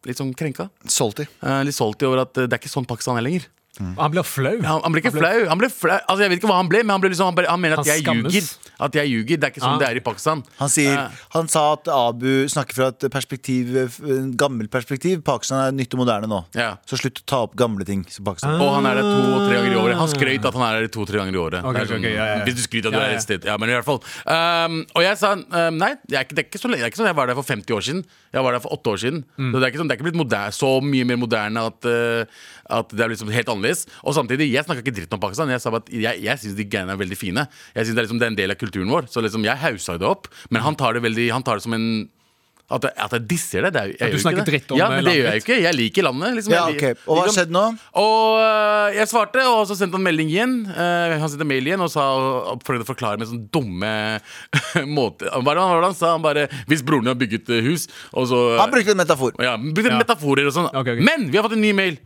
Litt sånn krenka. Salty. Eh, litt salty over at eh, det er ikke sånn Pakistan er lenger. Han blir flau. Han, han ble ikke flau. Han ble flau. Altså, jeg vet ikke hva han ble, men han, ble liksom, han, bare, han mener at Han jeg skammes. ljuger. At jeg ljuger. Det er ikke sånn Ah. det er i Pakistan. Han, sier, Eh, han sa at Abu snakker fra et perspektiv en gammel perspektiv. Pakistan er nytt og moderne nå. Ja. Så slutt å ta opp gamle ting. som Pakistan og han er der to-tre ganger i året. Han skrøt at han er der to-tre ganger i året. Ah. Ok, Det er sånn, ok, ok, ja, ja, ja. Hvis du skryter at du Ja, ja. er et sted. Ja, men i hvert fall. Um, og jeg sa um, nei, det er, ikke, det, er ikke så, lenge- det er ikke sånn jeg var der for 50 år siden. Jeg var der for 8 år siden. Mm. Så det er ikke, sånn, det er ikke blitt moderne, så mye mer moderne at, uh, at det er liksom helt annerledes. Og samtidig, jeg snakka ikke dritt om Pakistan. Jeg sa bare at jeg, jeg syns de greiene er veldig fine. Jeg synes det, er liksom, det er en del av kulturen vår. Så liksom, jeg haussa det opp. Men han tar det veldig Han tar det som en at jeg, at jeg disser det. det er, jo- jeg At du gjør jo ikke snakker det. dritt om, ja, eh, men det landet gjør jeg jo ikke. Jeg liker landet. Liksom. Ja, Jeg ok. Og liker- hva har liker- skjedd nå? og øh, jeg svarte, og så sendte han melding igjen. Eh, han sendte mail igjen og, sa, og prøvde å forklare med en sånn dumme måte. Hva var det han- hva var det han sa? Han bare 'Hvis broren din har bygget eh, hus', og så Han brukte en metafor. ja, brukte metaforer og sånn. Ok, ok. Men vi har fått en ny mail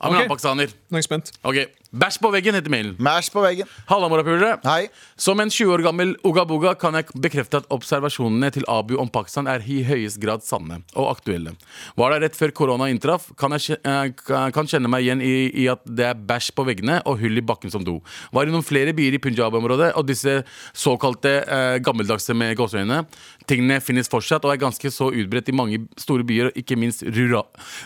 av en Ok. annen pakistaner. Nå er jeg spent. Ok, Bæsj på veggen heter mailen. Mash på veggen. Halla, morapulere. Hei. Som en 20 år gammel ogaboga kan jeg bekrefte at observasjonene til Abu om Pakistan er i høyest grad sanne og aktuelle. Var der rett før korona inntraff, kan jeg kje- eh, ka- kan kjenne meg igjen i, i at det er bæsj på veggene og hull i bakken som do. Var innom flere byer i Punjab-området, og disse såkalte eh, gammeldagse med gåseøyne tingene finnes fortsatt og er ganske så utbredt i mange store byer, og ikke minst rura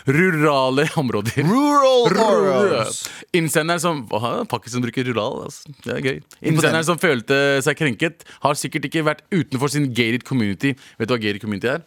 rurale områder. Rural Orals. Innsender som hva- Pakistan bruker rural. Altså. Det er gøy. Innsenderen som følte seg krenket, har sikkert ikke vært utenfor sin gated community. Vet du hva gated community er?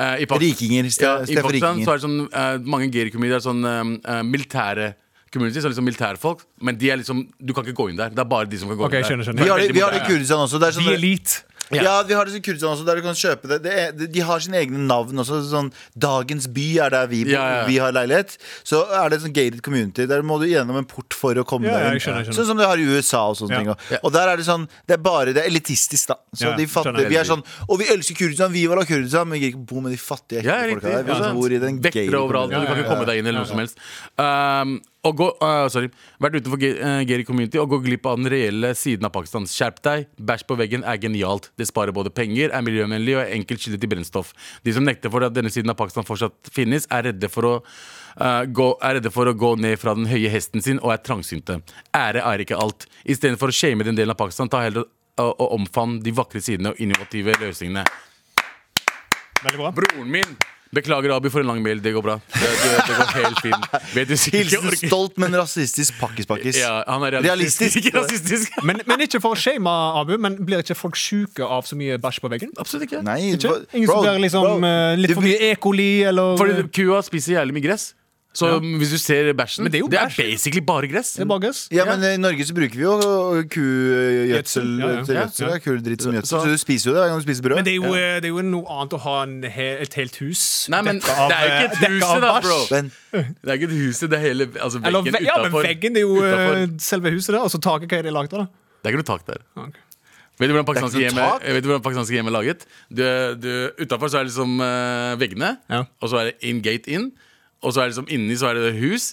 Eh, i Pak- Rikinger, ste- ja, I sted for Pakistan rikinger. så er det sånn eh, mange gated community er sånn eh, eh, militære community, så liksom militærfolk. Men de er liksom, du kan ikke gå inn der. Det er bare de som kan gå Ok, inn der. skjønner, skjønner. Vi har det, Veldig vi har det i moderne. Kurdistan også. Det er sånn, De elite. ja. vi har det i Kurdistan også, der du kan kjøpe det. det er, de har sine egne navn også. Sånn, Dagens by er der vi, bor, Ja, ja. vi har leilighet. Så er det en sånn gated community. Der må du gjennom en port for å komme Ja, ja, deg jeg skjønner, jeg skjønner. Sånn som de har i USA og sånne Ja. ting. også. Og der er det sånn Det er bare det er elitistisk, da. Så Ja, de fatter, skjønner. vi er sånn Og vi elsker Kurdistan, vi vil ha Kurdistan, men vi gir ikke bo med de fattige Ja, ekle folka riktig. der. Vi Ja, bor i den gated Vektere Liksom. overalt, og community. du kan ikke komme deg inn eller noe som helst. Um, og gå, uh, sorry, Vært utenfor ge- eh, Geri community og gå glipp av den reelle siden av Pakistan. Skjerp deg. Bæsj på veggen er genialt. Det sparer både penger, er miljøvennlig og er enkelt kilde til brennstoff. De som nekter for at denne siden av Pakistan fortsatt finnes, er redde for å eh, gå, er redde for å gå ned fra den høye hesten sin og er trangsynte. Ære er ikke alt. Istedenfor å shame den delen av Pakistan, ta heller og, og omfavn de vakre sidene og innovative løsningene. Veldig bra. Broren min Beklager, Abi, for en lang mail. Det går bra. Det, det, det går helt fint. Vet du sikkert Hilsen stolt, men rasistisk pakkis-pakkis. Ja, han er Realistisk. realistisk. Ikke rasistisk. Men, men ikke for å shame Abu, men blir ikke folk sjuke av så mye bæsj på veggen? Absolutt ikke. Nei, Ikke? bro- Ingen som bro, blir liksom bro, eh, litt du- for mye E. coli eller eh, Fordi kua spiser jævlig mye gress. Så hvis du ser bæsjen Men det er jo bæsj. basically bare gress. Det er bare gass. Ja, men i Norge så bruker vi jo ø, kugjødsel Gjødsel, ja, ja. til Ja, gjødsel. ja. Det er kuldritt som gjødsel. Så- Så du spiser jo det hver gang du spiser brød. Men det er, jo, øh, eh, det er jo noe annet å ha en he et helt hus Nei, men dekket av- eh, det er jo ikke et dekket huset av da, bæsj. bro. Men Det er ikke et huset, det er hele altså, veggen Eller, ve ja, men utenfor. veggen det er jo eh, Utenfor. selve huset, der, og så taket. Hva er det laget av? da? Det er ikke noe tak der. Ok. Vet du hvordan pakistanske Det er ikke hjem noe er, tak? vet du hvordan pakistanske hjem er laget? Du, du, utenfor så er det liksom eh, veggene, Ja. og så er det in gate in. Og så er det liksom inni så er det hus,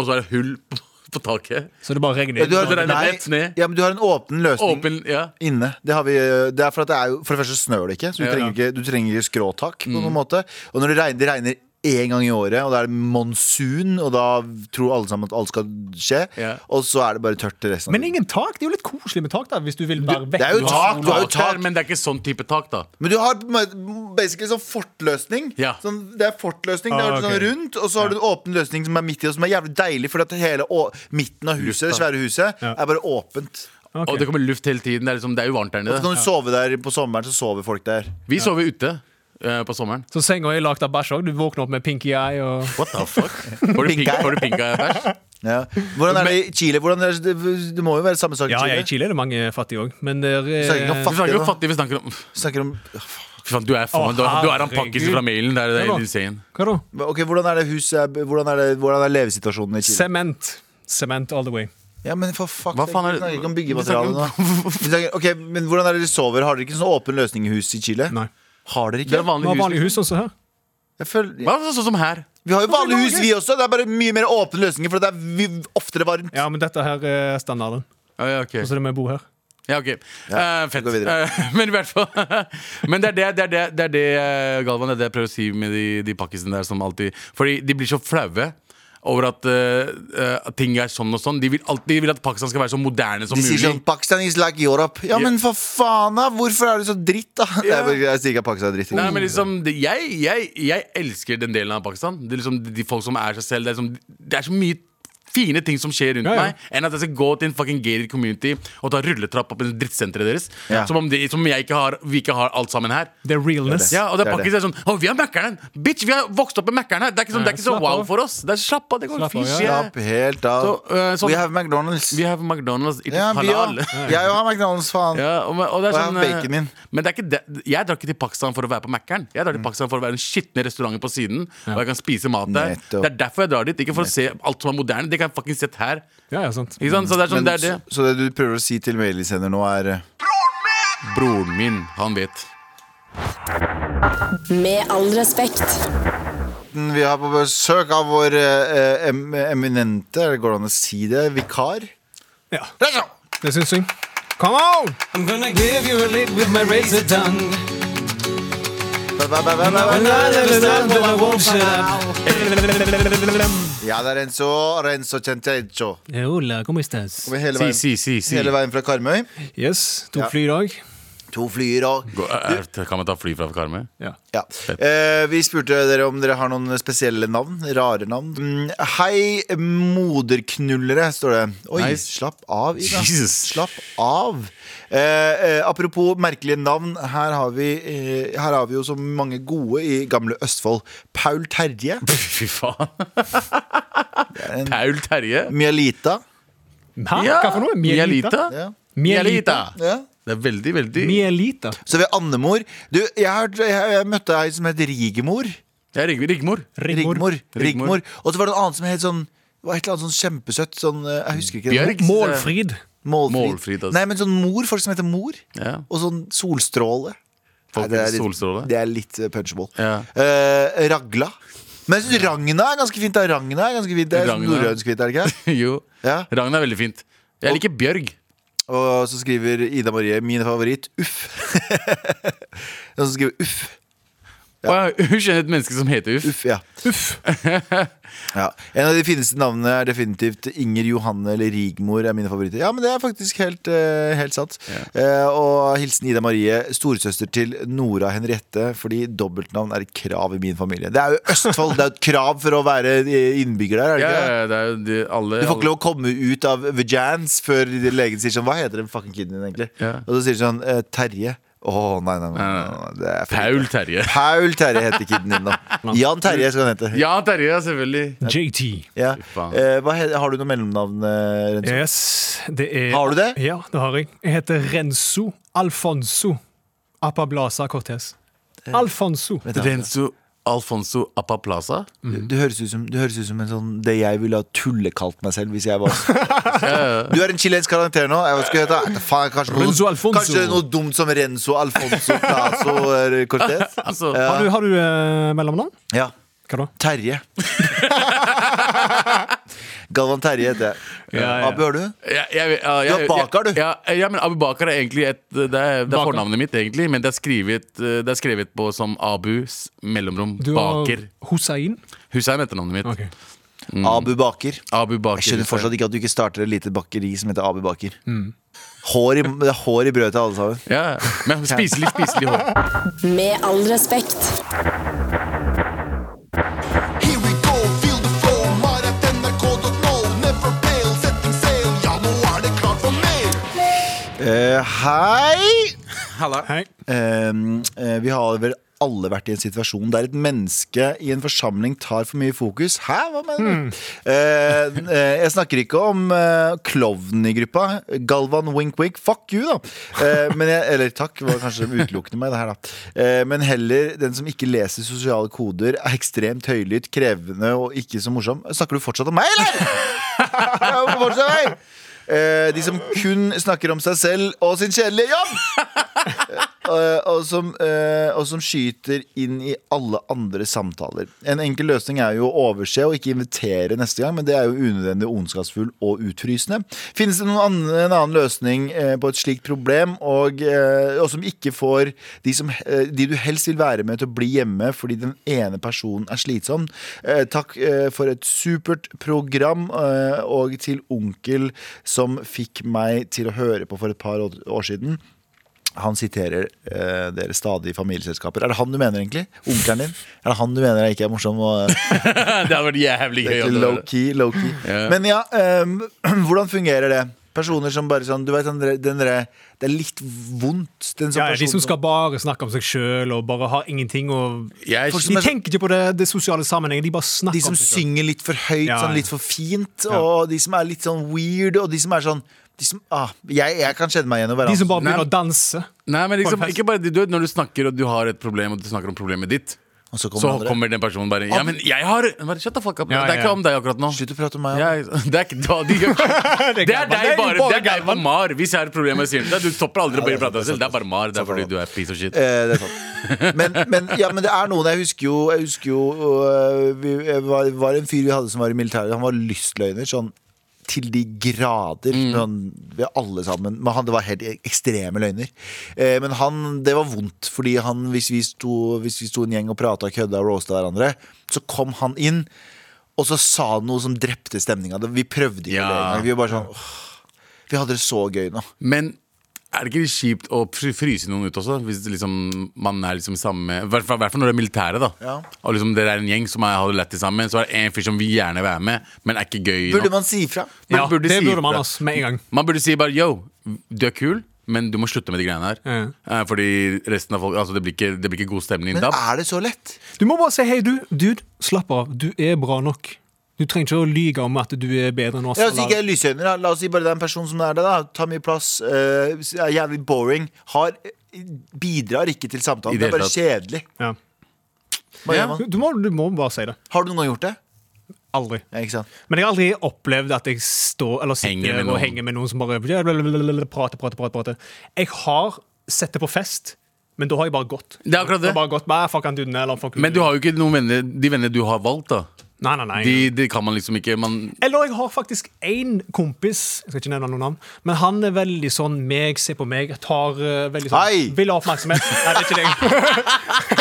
og så er det hull på, på taket. Så det bare regner ja, du, inn. har, det regner rett nei, ned. ja, men du har en åpen løsning Åpen, ja inne. Det, har vi, ø, det er for at det er jo For det første så snør det ikke, så du Ja, ja. trenger ikke, du trenger ikke skråtak på noen måte. Og når det regner, det regner én gang i året, og da er det monsun, og da tror alle sammen at alt skal skje, Ja. og så er det bare tørt resten Men ingen tak. Det er jo litt koselig med tak, da, hvis du vil være vekk. det er jo fra tak, du har jo sola. tak. der, men det er ikke sånn type tak, da. Men du har på en måte basically sånn fortløsning. Ja. Sånn, det er fortløsning, det Ah, er sånn ok. rundt, og så har du en åpen løsning som er midt i, og som er jævlig deilig, fordi at hele å, midten av huset, det svære huset, er bare åpent. Ok. Og det kommer luft hele tiden. Det er, liksom, det er jo varmt der Og så nede. kan du sove der på sommeren, så sover folk der. Vi sover ute eh, på sommeren. Så senga er lagd av bæsj òg. Du våkner opp med pinky eye og What the fuck? Får du Pink pink- eye. får du pink eye-bæsj? Ja. Hvordan er det i Chile? Hvordan er det, det må jo være samme sak i Ja, ja, i Chile? Chile er det mange fattige òg, men det er snakker ikke om Vi snakker ikke om da. fattige, vi snakker om Fy Snakker om faen, du er faen, Å, du, er- du er han pakkisen herregud. fra mailen. Det er, det Ja, da. er insane. Hva da? Ok, Hvordan er det huset Hvordan er, det, hvordan er levesituasjonen i Chile? Sement. Sement all the way. Ja, men for fuck Hva sake, faen Vi er det- snakker ikke om Vi byggematerialet nå. Vi snakker- Ok, men Hvordan er det dere sover? Har dere ikke sånn åpen løsning i huset i Chile? Nei. Har dere Det ikke? er Vi har vanlig vanlige hus. hus sånn som her. Jeg føler, Hva, sånn som her. Vi har jo vanlige hus, vi også. Det er bare mye mer åpne løsninger, for det er vi- oftere varmt. Ja, men dette her er standarden. Ja, ja, ok. Så det med å bo her. Ja, ok. Ja, Eh, fett. gå videre. Eh, men i hvert fall Men det er det, det, er det, det, er det eh, Galvan, det er det jeg prøver å si med de, de pakkisene der som alltid Fordi de blir så flaue. Over at eh, eh, at ting er sånn og sånn. De vil, alltid, de vil at Pakistan skal være så moderne som De sier mulig. sånn Pakistan is like Europe. Ja, Ja. men for faen, da! Hvorfor er du så dritt, da? Ja. Jeg, bare- jeg sier ikke at Pakistan er dritt. Nei, men liksom, det, jeg, jeg, jeg elsker den delen av Pakistan. Det er liksom De folk som er seg selv. Det er, liksom, det er så mye fine ting som skjer rundt Ja, ja. meg, enn at jeg skal gå til en fucking gated community og ta rulletrapp opp i drittsenteret deres. Ja. Som om det, som jeg ikke har, vi ikke har alt sammen her. Det er realness. Ja, og det er Det er pakkis det er sånn Å, vi har Mækkern! Bitch, vi har vokst opp med Mækkern her! Det er ikke, sånn, det er ikke så slapp wow av. for oss. Det er Slapp av, det går Slapp av, fint. ja. Ja. Slapp helt av. Så, eh, sånn- We have McDonald's. Vi har McDonald's, it ja, is vi har, halal. jeg har McDonald's, faen. Ja, og, og Og jeg det er sånn, har bacon eh, min. Men det er ikke det. jeg drar ikke til Pakistan for å være på Mækkern. Mm. Jeg drar til Pakistan for å være den skitne restauranten på siden. Og jeg kan spise mat der. Nettopp. Det er derfor jeg drar dit. Ikke for å se alt som er moderne. Det kan jeg fucking sett her. Ja, ja, sant. Ikke sant? Så det er Men sånn, det er det. så, så det du prøver å si til mailisender nå, er eh, Broren min, han vet. Med all respekt. Vi har på besøk av vår eh, em eminente eller Går det an å si det? Vikar? Ja, Rezo! det syns jeg. Come on! I'm gonna give you a lick with my razor tongue. Ba, ba, ba, ba, ba, ba. Not understand, but I won't shut up. Ja, det er Renzo. Renzo Centeggio. Eh, Hola, ¿cómo estás? Kommer hele Si, veien, si, si, si. hele veien fra Karmøy. Yes, Ja. tok fly i dag. To flyer og Gå- er- Kan man ta fly fra Karmøy? Ja. ja. eh, Vi spurte dere om dere har noen spesielle navn. Rare navn. Mm, Hei, moderknullere, står det. Oi, Nei. slapp av, Ida. Jesus. Slapp av. Eh, eh, apropos merkelige navn. Her har, vi, eh, her har vi jo så mange gode i gamle Østfold. Paul Terje. Fy faen. Paul Terje. Mjalita. Hæ? Hva for noe? Mielita? Mielita. Ja. Mielita. Ja. Det er veldig, veldig Mielita. Så vi har andemor. Du, jeg, har- jeg, jeg møtte ei som het Rigemor. Det er Rig- Rigmor. Rigmor. Rigmor. Rigmor. Rigmor. Og så var det en annen som het sånn det var et eller annet sånn kjempesøtt. Sånn, eh, jeg husker ikke Bjørg? det. Målfrid. Målfrid. Målfrid, altså. Nei, men sånn mor. Folk som heter mor. Ja. Og sånn solstråle. Folk Nei, det, er med litt, solstråle. det er litt eh, punchable. Ja. Eh, Ragla. Men jeg synes Ragna er ganske fint. da. Ragna er ganske fint. Det er sånn Ragna. norrønsk fint, er det ikke? Jo. Ja. Ragn er veldig fint. Jeg liker Bjørg. Og så skriver Ida Marie, min favoritt, uff. Den som skriver uff. Å, ja, Hun kjenner et menneske som heter Uff, Uff. ja. ja. En av de fineste navnene er definitivt Inger Johanne eller Rigmor er mine favoritter. Ja, men det er faktisk helt, eh, helt sant. Eh, og hilsen Ida Marie, storesøster til Nora Henriette, fordi dobbeltnavn er et krav i min familie. Det er jo Østfold, det er jo et krav for å være innbygger der, er det Ja, ikke det? ja, det er jo de, alle Du får ikke lov å komme ut av Vajans før legen sier sånn Hva heter den fucking kiden din, egentlig? Ja. Og så sier de sånn eh, Terje. Å, nei, nei, nei, nei, nei. Det er for Paul lite. Terje. Paul Terje heter kiden din, da. Jan Terje skal han hete. Ja, Terje, ja, selvfølgelig. JT. Ja. Fy faen. Eh, hva he- har du noe mellomnavn? eh, Renzo? Yes, det er Har du det? Ja, det har jeg. Jeg heter Renzo Alfonso Apablasa Cortez. Eh, Alfonso. Renzo Alfonso Apaplaza. mm. Du, du, høres ut som, du høres ut som en sånn det jeg ville ha tullekalt meg selv hvis jeg var Du er en chilensk karakter nå. Jeg vet ikke hva det heter. Faen, kanskje, Renzo noe, Alfonso. kanskje det er noe dumt som Renzo Alfonso Plazo eh, Cortez? Altså, Har du, har du eh, mellomnavn? Ja. Hva da? Terje. Galvan Terje heter jeg. Ja, ja. Abu, har du? jeg, jeg, jeg, jeg, Du er Bakar, du. Ja, ja, men Abu Bakar er egentlig et Det er, det er fornavnet mitt, egentlig, men det er skrevet, eh, det er skrevet på som Abus mellomrom Du har Baker. Hussein. Hussein er etternavnet mitt. Ok. Mm. Abu Baker. Abu Baker. Jeg skjønner fortsatt ikke at du ikke starter et lite bakeri som heter Abu Baker. Mm. Hår i, det er hår i brødet til alle sammen. Ja, men spiselig, spiselig hår. Med all respekt. Here we go, feel the flow. Mar at nrk.no. Never fail, setting sail. Ja, nå er det klart for mer. Eh, hei! Hei. Ehm, eh, vi har vel alle vært i en situasjon der et menneske i en forsamling tar for mye fokus. Hæ, hva mener du? Eh, eh, jeg snakker ikke om eh, klovnen i gruppa. Galvan wink wink, fuck you, da. Eh, men jeg, eller takk, var kanskje utelukkende meg, det her, da. Eh, men heller den som ikke leser sosiale koder, er ekstremt høylytt, krevende og ikke så morsom. Snakker du fortsatt om meg, eller?! Jeg må fortsette, meg. Eh, de som kun snakker om seg selv og sin kjedelige jobb! Eh, og, som, eh, og som skyter inn i alle andre samtaler. En enkel løsning er jo å overse og ikke invitere neste gang, men det er jo unødvendig ondskapsfull og utfrysende. Finnes det noen annen, en annen løsning eh, på et slikt problem, og, eh, og som ikke får de, som, eh, de du helst vil være med til å bli hjemme fordi den ene personen er slitsom? Eh, takk eh, for et supert program, eh, og til onkel som fikk meg til å høre på for et par år år siden. Han siterer eh, dere stadig i familieselskaper. Er det han du mener, egentlig? Onkelen din? Er det han du mener er ikke er morsom? Og, eh, Det hadde vært jævlig gøy. om det var det. Low-key, low-key. Ja. Men ja, ehm, hvordan fungerer det? Personer som bare sånn Du vet den der, den der Det er litt vondt. Den som Ja, de person som skal bare snakke om seg sjøl og bare har ingenting og Jeg, De tenker ikke på det, det sosiale sammenhengen, de bare snakker De som om seg selv. synger litt for høyt, Ja, sånn ja. litt for fint. Og de som er litt sånn weird, og de som er sånn de som, ah, jeg, jeg kan kjenne meg igjen i De hverandre. som bare begynner Nei. å danse. nei, men liksom, På en fest. ikke bare det, du vet, Når du snakker og du har et problem, og du snakker om problemet ditt, Og så så kommer andre. kommer den personen bare Ja, men jeg har bare, Shut the fuck up. Ja, det er ja, ikke ja. om deg akkurat nå. Slutt å prate om meg. Jeg, det er ikke da de gjør Det er Galvan. deg Det er bare. bare Det er deg Galvan. på Mar. Hvis jeg har et problem med Sienta, du stopper aldri å bare prate om deg selv. Det er bare Mar. Det er fordi du er piece of shit. Eh, det er sant. Men, men, ja, men det er noen Jeg husker jo, jeg husker jo øh, vi, jeg var, var en fyr vi hadde som var i militæret. Han var lystløgner. sånn til de grader. Sånn, vi alle sammen men han, Det var helt e-, ekstreme løgner. Eh, men han, det var vondt, fordi han, hvis, vi sto, hvis vi sto en gjeng og prata og kødda og roasta hverandre, så kom han inn, og så sa han noe som drepte stemninga. Vi prøvde ikke å Ja. le engang. Vi var bare sånn åh, Vi hadde det så gøy nå. Men Er det ikke litt kjipt å fry- fryse noen ut også? Hvis liksom, man er liksom samme I hvert fall hvert fall når det er militære, da. Ja. Og liksom dere er en gjeng som er, har det lett til sammen. Så er det en fyr som vil gjerne være med, men er ikke gøy Burde nok. man si ifra? Man Ja, burde det si burde man ifra. altså med en gang. Man burde si bare yo, du er kul, men du må slutte med de greiene her. Ja. Eh, Fordi resten av folk Altså, det blir ikke, det blir ikke god stemning Men da. er det så lett? Du må bare si hei, du. Dude, slapp av. Du er bra nok. Du trenger ikke å lyge om at du er bedre enn oss. Ja, La oss si ikke eller- er lysøyne, da. La oss si bare det er en person som er det. da Tar mye plass, eh, er jævlig boring. Har, bidrar ikke til I samtalen. Det det er bare hele kjedelig. Ja. Hva Ja. gjør man? Du, må, du må bare si det. Har du noen gang gjort det? Aldri. Ja, ikke sant? Men jeg har aldri opplevd at jeg står eller sitter Henger med og noen. henger med noen som bare blablabla, prater, prater, prater. prater. Jeg har sett det på fest, men da har jeg bare gått. Det er akkurat Jeg det. har bare gått, «Nei, fuck han duden der», eller fuck Men du har jo ikke noen venner De venner du har valgt, da. Nei, nei, nei. De, de kan man liksom ikke man, Eller jeg har faktisk én kompis, jeg skal ikke nevne noen navn, men han er veldig sånn meg, se på meg, tar eh, veldig sånn Hei! Vil ha oppmerksomhet. Nei, det er ikke deg.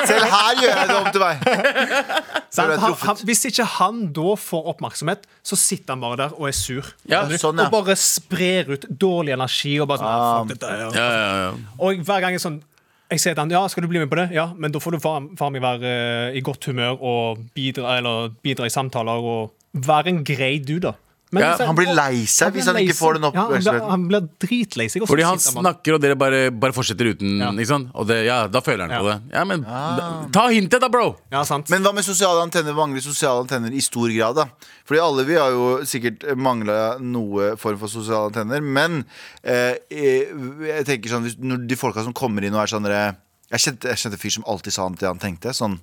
Selv her gjør jeg det om til meg. Så Han, er det han, truffet. hvis ikke han da får oppmerksomhet, så sitter han bare der og er sur. Ja, Skjønner du? sånn, ja. Og bare sprer ut dårlig energi. Og bare sånn, «Ah, fuck dette her. ja, ja, ja. Og hver gang jeg sånn jeg sier til han, ja, skal du bli med på det? Ja, men da får du faen faen meg være eh, i godt humør og bidra, eller bidra i samtaler og være en grei dude, da. Men Ja, hvis jeg- han blir lei seg blir hvis han ikke lei får den seg. Ja, han, oppmerksomheten. blir- han blir dritlei seg. og så Fordi han sitter bare- snakker, og dere bare, bare fortsetter uten. Ja. Ikke sant? Og det, ja, da føler han på Ja. det. Ja, men Ah. da, Ta hintet, da, bro! Ja, sant. Men hva med sosiale antenner? Mangler sosiale antenner i stor grad, da? Fordi alle vi har jo sikkert mangla noe form for sosiale antenner. Men eh, eh, jeg tenker sånn hvis, når de folka som kommer inn og er sånn dere- Jeg kjente jeg kjente en fyr som alltid sa han til han tenkte. Sånn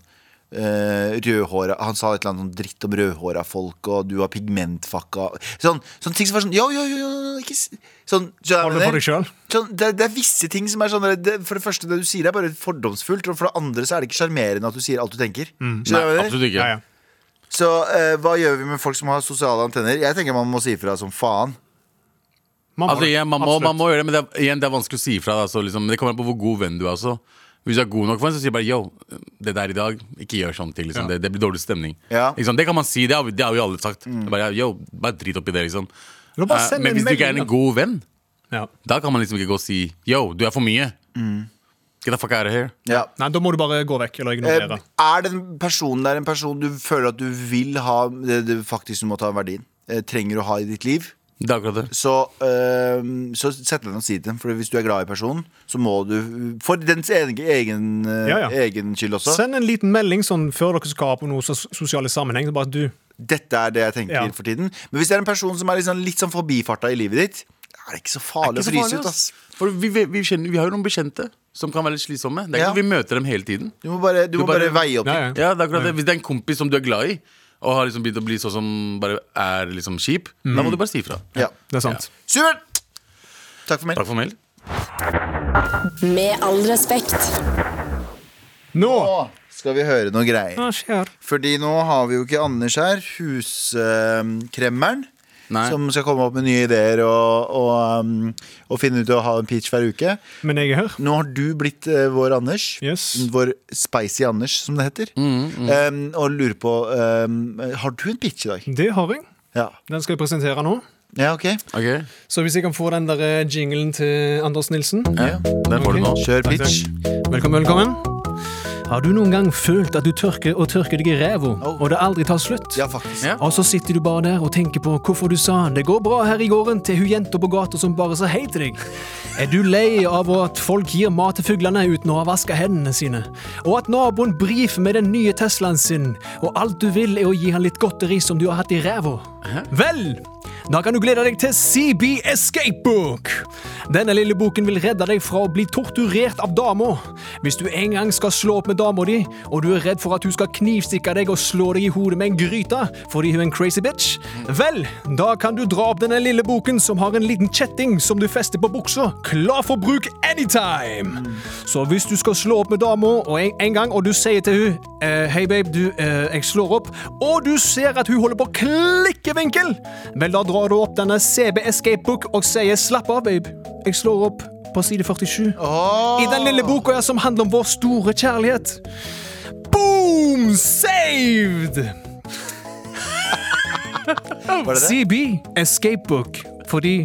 eh, rødhåra Han sa et eller annet sånn dritt om rødhåra folk, og du har pigmentfakka Sånn, sånn ting som var sånn Yo, yo, yo, yo, ikke s- Sånn, skjønner du hva jeg Hold det for mener? deg selv. Sånn, det, det er visse ting som er sånn det, For det første, det du sier er bare fordomsfullt Og for det andre så er det ikke sjarmerende at du sier alt du tenker Skjønner du Nei, hva jeg mener? absolutt ikke. ja, ja. Så eh, hva gjør vi med folk som har sosiale antenner? Jeg tenker man må si ifra som faen Man må Altså, det. ja, man, må, Absolutt. man må gjøre det, men det er, igjen, det er vanskelig å si ifra. da, så Liksom, det kommer an på hvor god venn du er. Altså. Hvis du er god nok for en, så sier du bare yo, det der i dag, ikke gjør sånne ting. Liksom. Ja. Det, det blir dårlig stemning. Ja. Ikke sant? Det kan man si, det har, vi- det har jo alle sagt. Det er Bare, yo, bare drit oppi det, liksom. Eller bare Eh, send men en hvis du ikke er melding, en god venn, Ja. da kan man liksom ikke gå og si yo, du er for mye. Get the fuck out of here. ja. Nei, da må du bare gå vekk eller Eh, ignorere. Er den personen der en person du føler at du vil ha Det, det faktisk du må ta verdien eh, Trenger å ha i ditt liv Det er akkurat det. så, eh, så sett den og si den For hvis du er glad i personen Så må du, for dens egen, egen, eh, Ja, ja. egen skyld også Send en liten melding sånn før dere skal ha på noe sos sosiale sammenheng. så Bare du Dette er det jeg tenker Ja. for tiden Men hvis det er en person som er litt sånn- litt sånn forbifarta i livet ditt Er det ikke så farlig å fryse ut ass For vi, vi, vi, kjenner, vi har jo noen bekjente som kan være litt slitsomme. Det Ja. er ikke, sånn vi møter dem hele tiden. Du må bare, du Du må bare, bare- veie opp Ja, ting. ja. Ja, det er akkurat det. Hvis det er en kompis som du er glad i, og har liksom begynt å bli sånn som bare er liksom kjip, da må du bare si ifra. Ja. Det er sant. Supert! Takk for meg. Takk for mail. Med all respekt. Nå! Nå skal vi høre noe greier. Hva skjer? Fordi nå har vi jo ikke Anders her, huskremmeren. Nei. Som skal komme opp med nye ideer og, og, um, og finne ut å ha en peach hver uke. Men jeg er her. Nå har du blitt eh, vår Anders. Yes. Vår spicy Anders, som det heter. Um, og lurer på um, Har du en pitch i dag? Det har jeg. Ja. Den skal jeg presentere nå. ja, OK. Ok, Så hvis jeg kan få den der eh, jinglen til Anders Nilsen Ja. Den får Ok. du nå. Kjør pitch. Velkommen, velkommen Har du noen gang følt at du tørker og tørker deg i revo Oh. Og det aldri tar slutt? Ja, faktisk. Ja. Og så sitter du bare der og tenker på hvorfor du sa Det går bra her i gården til hun jenta på gata som bare sa hei til deg Er du lei av at folk gir mat til fuglene uten å ha vasket hendene sine? Og at naboen brifer med den nye Teslaen sin Og alt du vil er å gi han litt godteri som du har hatt i revo Vel, da kan du glede deg til CB Escape Book. Denne lille boken vil redde deg fra å bli torturert av dama. Hvis du en gang skal slå opp med dama di, og du er redd for at hun skal knivstikke deg og slå deg i hodet med en gryte fordi hun er en crazy bitch, vel, da kan du dra opp denne lille boken som har en liten kjetting som du fester på buksa, klar for bruk anytime. Så hvis du skal slå opp med dama og en, en gang, og du sier til hun eh, Hei, babe, du, eh, jeg slår opp, og du ser at hun holder på å klikkevinkel, vel, da drar du opp denne CB Escape Book og sier slapp av, babe, jeg slår opp på side 47. I den lille boka ja, som handler om vår store kjærlighet. Boom! Saved! Var det det? CB Escape Book. Fordi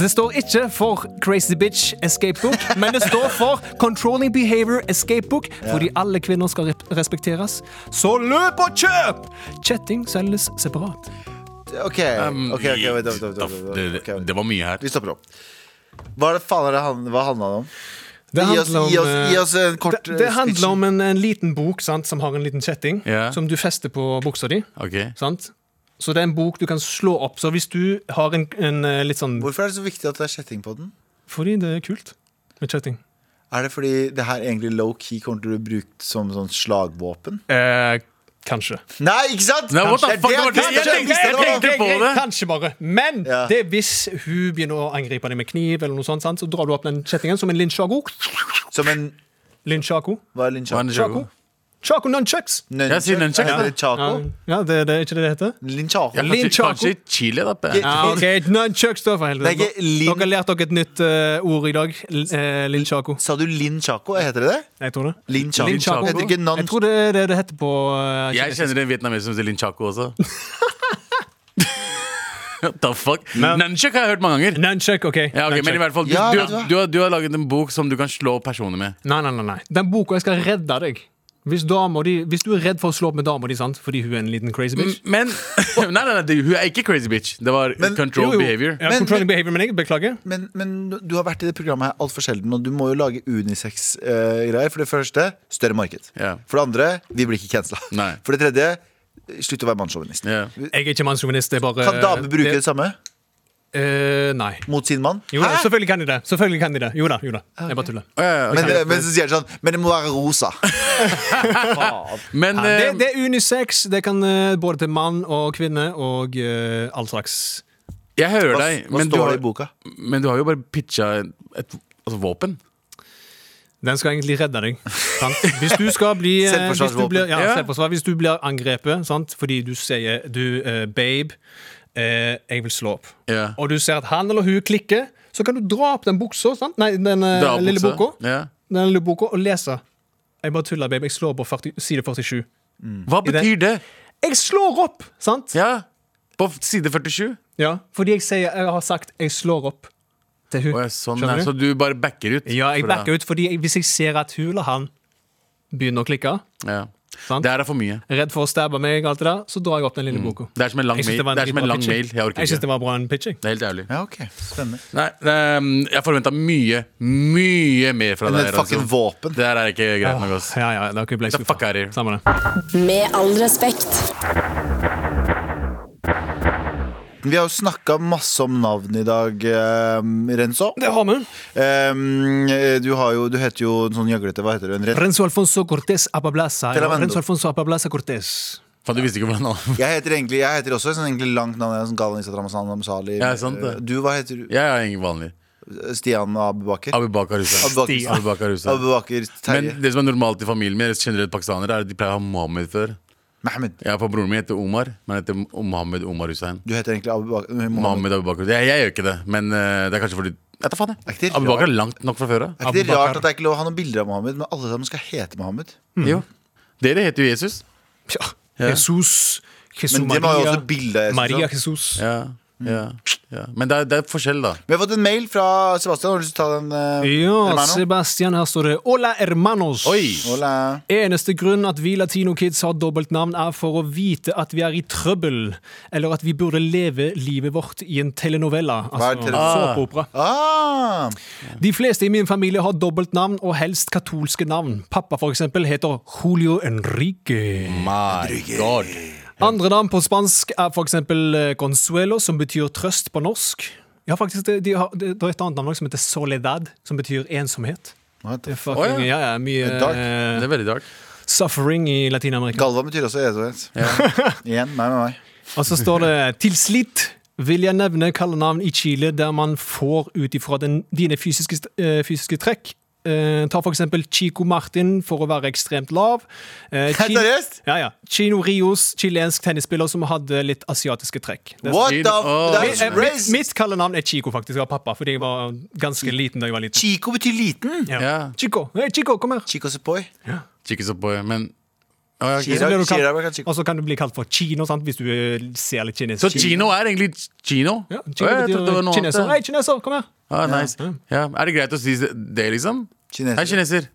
Det står ikke for Crazy Bitch Escape Book, men det står for Controlling Behavior Escape Book, fordi alle kvinner skal rep- respekteres. Så løp og kjøp! Kjetting selges separat. Ok, ok, ok, vent, vent, vent, vent, Um, Det, vent, det, ok. det var mye her. Vi stopper opp. Hva er det faen er det han, hva handla det om? Det Gi oss, handler om, gi oss, eh, gi oss en kort Det, det eh, handler speech. om en, en liten bok sant, som har en liten kjetting, Ja. som du fester på buksa di. Ok Sant? Så det er en bok du kan slå opp. Så hvis du har en, en eh, litt sånn Hvorfor er det så viktig at det er kjetting på den? Fordi det er kult med kjetting. Er det fordi det her egentlig low-key kommer til å bli brukt som sånn slagvåpen? Eh, kanskje. Nei, ikke sant? Nei, what the Kanskje. fuck, det var er det jeg kanskje- tenkte, jeg tenkte. på det. Kanskje bare. Men Ja. det er hvis hun begynner å angripe deg med kniv, eller noe sånt, sant? så drar du opp den kjettingen som en linsjago. Som en Linsjago. Hva er Linchaco? Hva er Linchaco? Chaco. Chaco nunchucks. Jeg sier nunchuck, Heter ja. det Chaco? Ja, det, det er ikke det det heter? Linchaco? ja, kanskje, Linchaco. kanskje i Chile, da. pe- Ja. Ja, ok, Nunchucks, da, for helvete. Det er ikke lin- Dere har lært dere et nytt eh, ord i dag. L- eh, Linsjago. Sa du Linchaco? Heter det det? Jeg tror det. Linchaco. Linchaco. Heter ikke Jeg nan... tror det er det det heter på eh, Jeg kinesisk. kjenner en vietnameser som heter Linchaco også. What the fuck? Men- Nunchuck har jeg hørt mange ganger. Nunchuck, OK. Ja, ok, men i Nunchuck. hvert fall, du, Ja, du, vet du hva? du, har, du har laget en bok som du kan slå personer med. Nei, nei, nei, nei. Den boka jeg skal redde deg. Hvis, damer de, hvis du er redd for å slå opp med dama di sant? fordi hun er en liten crazy bitch Men Nei, nei, nei, det- hun er ikke crazy bitch. Det var Men- control Jo, jo. behavior. Ja, Mm. Men- controlling behavior, men jeg beklager. Men, men du har vært i det programmet her altfor sjelden, og du må jo lage unisex-greier. for det første, større marked. Ja. For det andre, vi blir ikke cancela. Nei. For det tredje, slutt å være mannssjåvinist. Ja. Jeg er ikke mannssjåvinist. det er bare- Kan damer bruke det, det- samme Eh, nei. mot sin mann? Jo, da, selvfølgelig kan de det. Selvfølgelig kan de det. Jo da, jo da. Jeg bare tuller. Ja, ja, ok. Men, det- men så sier de sånn Men det må være rosa. Men, Ja, eh, det, det er unisex. Det kan eh, både til mann og kvinne og eh, all slags. jeg hører Hva, deg, hva men du, står det har, i boka? men du har jo bare pitcha et, et altså, våpen. Den skal egentlig redde deg. Sant? Hvis du skal bli eh, hvis du Selvforsvarsvåpen. blir, ja, Ja. selvforsvar, hvis du blir angrepet sant? fordi du sier du, eh, 'Babe, eh, jeg vil slå opp', Ja. og du ser at han eller hun klikker, så kan du dra opp den buksa, sant? Nei, den eh, Dra opp lille buksa. boka, Ja. den lille boka og lese. Jeg bare tuller, babe. Jeg slår på 40, side 47. Mm. Hva I det- betyr det? Jeg slår opp! Sant? Ja. På side 47? Ja, fordi jeg, sier, jeg har sagt 'jeg slår opp' til hun. Å, ja, sånn, ja, Skjønner du? så du bare backer ut? Ja, jeg backer ut, fordi jeg, hvis jeg ser at hun eller han begynner å klikke, Ja. Sant? Det her er for mye. redd for å stabbe meg, alt det der, så drar jeg opp den lille boka. Mm. Det er som en lang Jeg synes mail. det var en Det er som en dritbra lang pitching. mail. Jeg orker Jeg synes ikke. det var bra en pitching. Det er helt ærlig. Ja, ok, spennende Nei, ehm, jeg forventa mye, mye mer fra Men deg. et fucking Ranzo. våpen. Det her er ikke greit nok, ass. Ja, ja, det er ikke ble Oh The skuffet. fuck out of here. Samme det. Med all respekt. Vi har jo snakka masse om navn i dag, eh, Renzo. Det har vi. Ehm, du, har jo, du heter jo en sånn gjøglete Hva heter du? En ren... Renzo Alfonso Cortés Apablasa. Ja. Telavando. Renzo Alfonso Apablasa Cortés. Faen, du visste ikke hvordan han Jeg heter egentlig Jeg heter også et sånn egentlig langt navn. jeg er Sånn Galvan Isat Ramazan Amsali. Ja, sant det. Eh, Du, hva heter du? Jeg er ingen vanlig. Stian Abubaker? Abubakar Hussein. Abubakar. Stian. Abubakar Hussein. Abubaker Terje. Men det som er normalt i familien min, generelt pakistanere, er at de pleier å ha Mohammed før. Mehmed. Jeg på Broren min heter Omar, men han heter Mohammed Omar Hussein. Du heter egentlig Abubakar eh, Mohammed. Mohammed Abubakar Hussein. Jeg, jeg gjør ikke det, men eh, det er kanskje fordi Jeg tar faen, Er jeg. ikke det Abubakar er langt nok fra før av. Er ikke det Abubakar. rart at det er ikke lov å ha noen bilder av Mohammed, men alle sammen skal hete Mohammed? Jo. Dere heter jo Jesus. Ja. Ja. Jesus. Jesus Men de har jo Maria. også bilder. jeg synes sånn. Maria også. Jesus. Ja, ja, ja. Men det er, det er forskjell, da. Vi har fått en mail fra Sebastian. Har du lyst til å ta den? eh, Ja, Hermano? Sebastian, her står det 'Hola hermanos'. Oi! Hola. Eneste grunn at vi latinokids har dobbeltnavn, er for å vite at vi er i trøbbel, eller at vi burde leve livet vårt i en telenovella. Hva er Altså tele- Ah. såpeopera. Ah, De fleste i min familie har dobbeltnavn, og helst katolske navn. Pappa, for eksempel, heter Julio Enrique. My god. Andre navn på spansk er for eksempel eh, Consuelo, som betyr trøst på norsk. Ja, faktisk, det, de har, det, det er et annet navn også som heter Soledad, som betyr ensomhet. what the Det er f- fucking, Å, ja. ja. ja, mye Det er dark. eh, Det er veldig dark. suffering i Latin-Amerika. Galvan betyr også ensomhet. Igjen, meg med meg. Og så står det 'til slitt'. Vil jeg nevne kallenavn i Chile der man får ut ifra den- dine fysiske, st- eh, fysiske trekk? Eh, ta for eksempel Chico Martin for å være ekstremt lav. Eh, Helt Chi- seriøst? Ja, ja. Chino Rios, chilensk tennisspiller som hadde litt asiatiske trekk. Det er- What the f... Åh. That's Eh, mitt, racist. mitt kallenavn er Chico, faktisk, av pappa, fordi jeg var ganske liten da jeg var liten. Chico betyr liten. Ja. Chico, hey, Chico kom her! Chico Sepoy. Chickens up boy. Men Ja, Chirag- ja, Så blir du kalt- Chirag var kanskje- Og så kan du bli kalt for kino, sant? hvis du eh, ser litt kinesisk Så kino er egentlig kino? Ja, Å, kino jeg trodde det var betyr noe kineser. Hei, annet. kineser, kom her! Ah, nice. ja. Er det greit å si det, liksom? Kineser. Hei, kineser.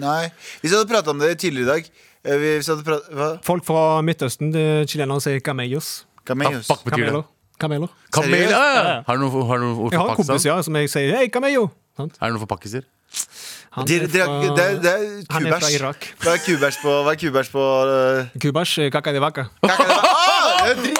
Nei. Hvis jeg hadde prata om det tidligere i dag eh, vi- Hvis jeg hadde pratet, hva? Folk fra Midtøsten, det- chilenere, sier camellos. Hva Cameos. fuck betyr det? Kameler. Kameler. Kamel, Seriøst? ja, ja. Har du noe for, har du noe ord Jeg har for en kompis Pakistan? ja, som jeg sier 'hei, camello'. Sant? Er det noe for pakkiser? Han Det, det, er, det, er, det er Han er fra kubæsj. Irak. Hva er kubæsj på, hva er kubæsj på eh, Kubasj, kakadiwaka. kaka de- Ah, det er drit-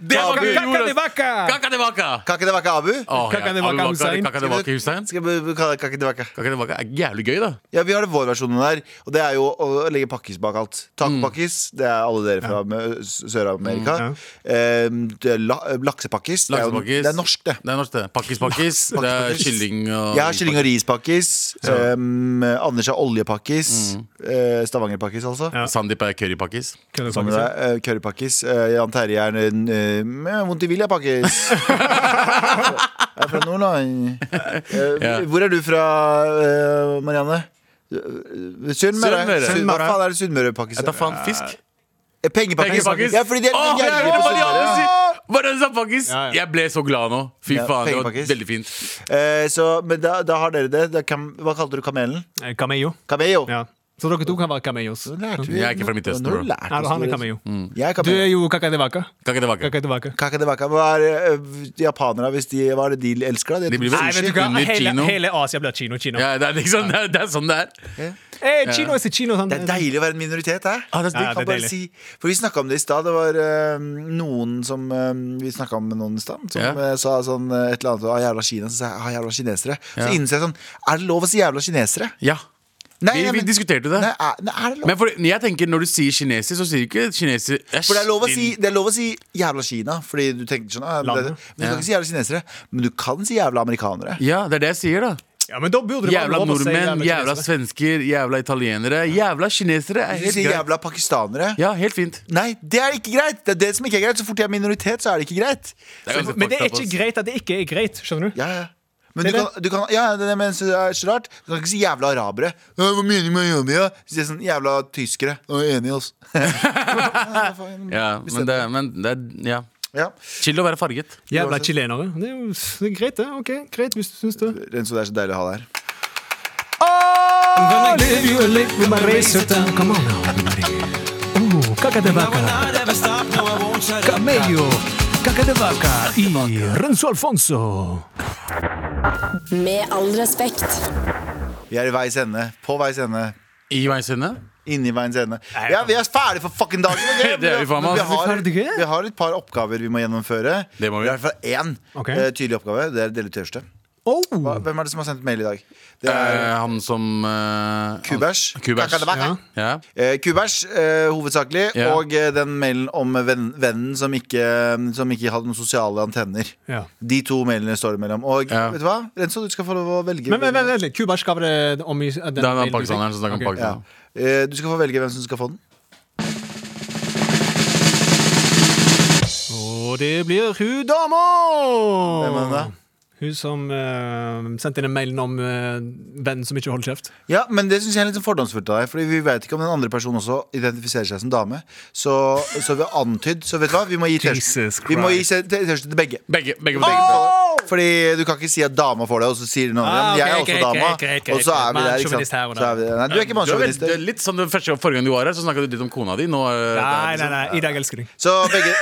Det var gøy, Jonas! Kakadiwaka! Kakadevaka! Kaka de waka abu? Oh, ja. Kakadevaka Abu Bakar, Hussein. Kakadevaka Hussein. Skal vi vi kalle det kaka de waka? Kakadevaka er jævlig gøy, da. Ja, vi har det vår versjon der, og det er jo å legge pakkis bak alt. Tacopakkis, Mm. det er alle dere fra Mø- S- Sør-Amerika. Eh, det er la- laksepakkis. Det er, jo, Laksepakkis. det er norsk, det. Det er norsk, det. Pakkis, pakkis. Det er pakkis. kylling og Jeg har kylling og rispakkis. Um, Anders har oljepakkis. Mm. eh, Stavangerpakkis, altså. Ja. Sandeep er currypakkis. Sammen med deg, eh, Currypakkis. Eh, Jan Terje er en eh, med vondt i vilja-pakkis. jeg er fra Nordland. Eh, Ja. Hvor er du fra, eh, Marianne? Eh, Sunnmøre. Sunnmøre. Sunn- Hva faen er det Sunnmøre-pakkis? Jeg tar faen fisk. Eh, Pengepakkis. Pengepakkis. Ja, fordi de er Åh, de er jeg gjerrige på var Marianne Sunnmøre. sin- Marianne sa pakkis! Ja, ja. Jeg ble så glad nå. Fy Ja, faen, det var pengepakkis. veldig fint. Eh, Så, men da, da har dere det. Da kan, hva kalte du kamelen? Eh, Camello. Cameo. Ja. Så dere to kan være camellos. Lærte vi- Jeg er ikke fra Midtøsten, Nå har du bro. Mm. lært Nei, oss han er noe. camello. Jeg er Du kamel. er jo kakadiwaka. Kakadevaka. Kakadiwaka. Kakadevaka. Hva er eh, japanere, hvis de, hva er det de elsker, da? De blir vel Nei, vet du sushi hva? under Hele, kino. hele Asia blir kino. kino. Ja, det er liksom det er, det er sånn det er. Eh, kino er sitt kino, sant? Det er deilig å være en minoritet, hæ? Ah, det er- Vi Ja, kan det bare er deilig. si, for vi snakka om det i stad. Det var eh, noen som eh, Vi snakka med noen i stad som Ja. eh, sa sånn eh, et eller annet ah, 'jævla Kina', så sa jeg ah, 'jævla kinesere'. Ja. Så innser jeg sånn Er det lov å si 'jævla kinesere'? Ja. Nei, Vi, jeg vi men- diskuterte det. Nei, er, nei, er det lov? Men for, jeg tenker Når du sier kineser, så sier du ikke kineser Æsj, for det er, lov å si, din- det er lov å si 'jævla Kina', fordi du tenker sånn ah, men, det, Landet. men Du kan ikke si 'jævla kinesere', men du kan si 'jævla amerikanere'. Ja, det er det jeg sier, da. Ja, men da burde det være Jævla lov å si nordmenn, jævla kinesere. svensker, jævla italienere. Jævla kinesere er Hvis helt du sier greit. 'jævla pakistanere' Ja, helt fint. Nei, det er ikke greit! Det er det som ikke er greit. Så fort jeg er minoritet, så er det ikke greit. Det er ganske Men det er fucked up, ikke ass. greit at det ikke er greit, skjønner du? Ja, ja. Men Det du er kan, du kan, ja, det er det men det er så rart. Du kan ikke si jævla arabere. Ja, hva mener du med jævla? ja? Så sier jeg sånn, jævla tyskere. Nå er jeg enig i oss. Ja, men det, men det er ja. Ja. chill å være farget. Jævla chilenere. Det er jo det er greit, det. Ok, greit hvis du syns det. Renzo, det er så deilig å ha deg her. Oh, Gonna give you a lick with my razor down. Come on Uh, now, everybody. Ooh, I will kakadebaka, not ever stop, no, I won't shut up. camello, kakadebaka i Renzo Alfonso. Med all respekt. Vi er i veis ende. På veis ende. I veis ende. Inni veis ende. Ja, vi er ferdige for fucking dagen! ok? Det er vi faen meg, Men altså. vi, Ferdige? har, vi har et par oppgaver vi må gjennomføre. Det må vi. I hvert fall én Ok. eh, tydelig oppgave. Det er å dele ut T-skjorte. Oh, Hva- Hvem er det som har sendt mail i dag? Det er Eh, han som eh, Kubæsj. han- Kubæsj. Kakadebaka. Ja. Eh, Kubæsj, eh, hovedsakelig, Ja. og eh, den mailen om venn, vennen som ikke, som ikke hadde noen sosiale antenner. Ja. De to mailene står det mellom. Og Ja. vet du hva? Renzo, du skal få lov å velge. Men men- men vent litt. Kubasj gav det om i den Det er han mailen du pakistaneren fikk? som snakker om Ok. ja. Pakistan. Eh, Du skal få velge hvem som skal få den. Og det blir hun dama! Hvem er det da? Hun som eh, sendte inn en mail om eh, vennen som ikke holder kjeft. Ja, men det syns jeg er litt sånn fordomsfullt av deg. Fordi vi vet ikke om den andre personen også identifiserer seg som dame. Så, så vi har antydd. Så vet du hva? Vi må gi Jesus T-skjorte Vi må gi Christ. se- t- T-skjorte til begge. Begge. Begge begge, begge. får det. Fordi du kan ikke si at dama får det, og så sier den andre Ah, men jeg er ok, også ok, dama. ok, ok, ok. Og så er vi der, ikke Mannssjåvinist her sant. og der. Så er vi der. Nei, du er ikke Du er veldig- mannssjåvinist. det er litt sånn den første forrige gang du var her, så snakka du litt om kona di. Nå, eh, det Nei, er nei, liksom- nei. I dag elsker jeg deg. Så begge,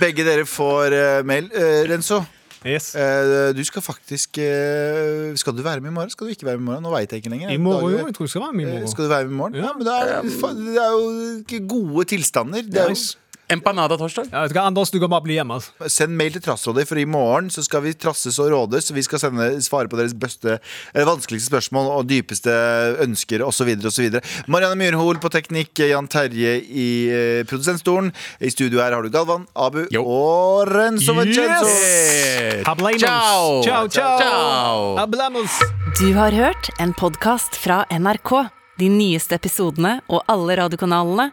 begge dere får eh, mail. Eh, Renzo, Yes. eh, du skal faktisk eh, Skal du være med i morgen? Skal du ikke være med i morgen? Nå veit jeg ikke lenger. I morgen, jo. Dager- Jeg tror det skal være min Eh, morgen. Skal du være med i morgen? Ja, men det er, fa- det er jo ikke gode tilstander. Det er Nice. jo, Empanada torsdag. Ja, vet du hva, Anders, du kan bare bli hjemme. Altså. send mail til Trassrådet, for i morgen så skal vi trasses og rådes. Vi skal sende, svare på deres beste, eller vanskeligste spørsmål og dypeste ønsker osv. Marianne Myrhol på teknikk, Jan Terje i eh, produsentstolen. I studio her har du Galvan, Abu Jo. og Renzo Vincenzo. Yes. Hablamos. Ciao. Ciao, ciao. Ciao. Hablamos. Du har hørt en podkast fra NRK. De nyeste episodene og alle radiokanalene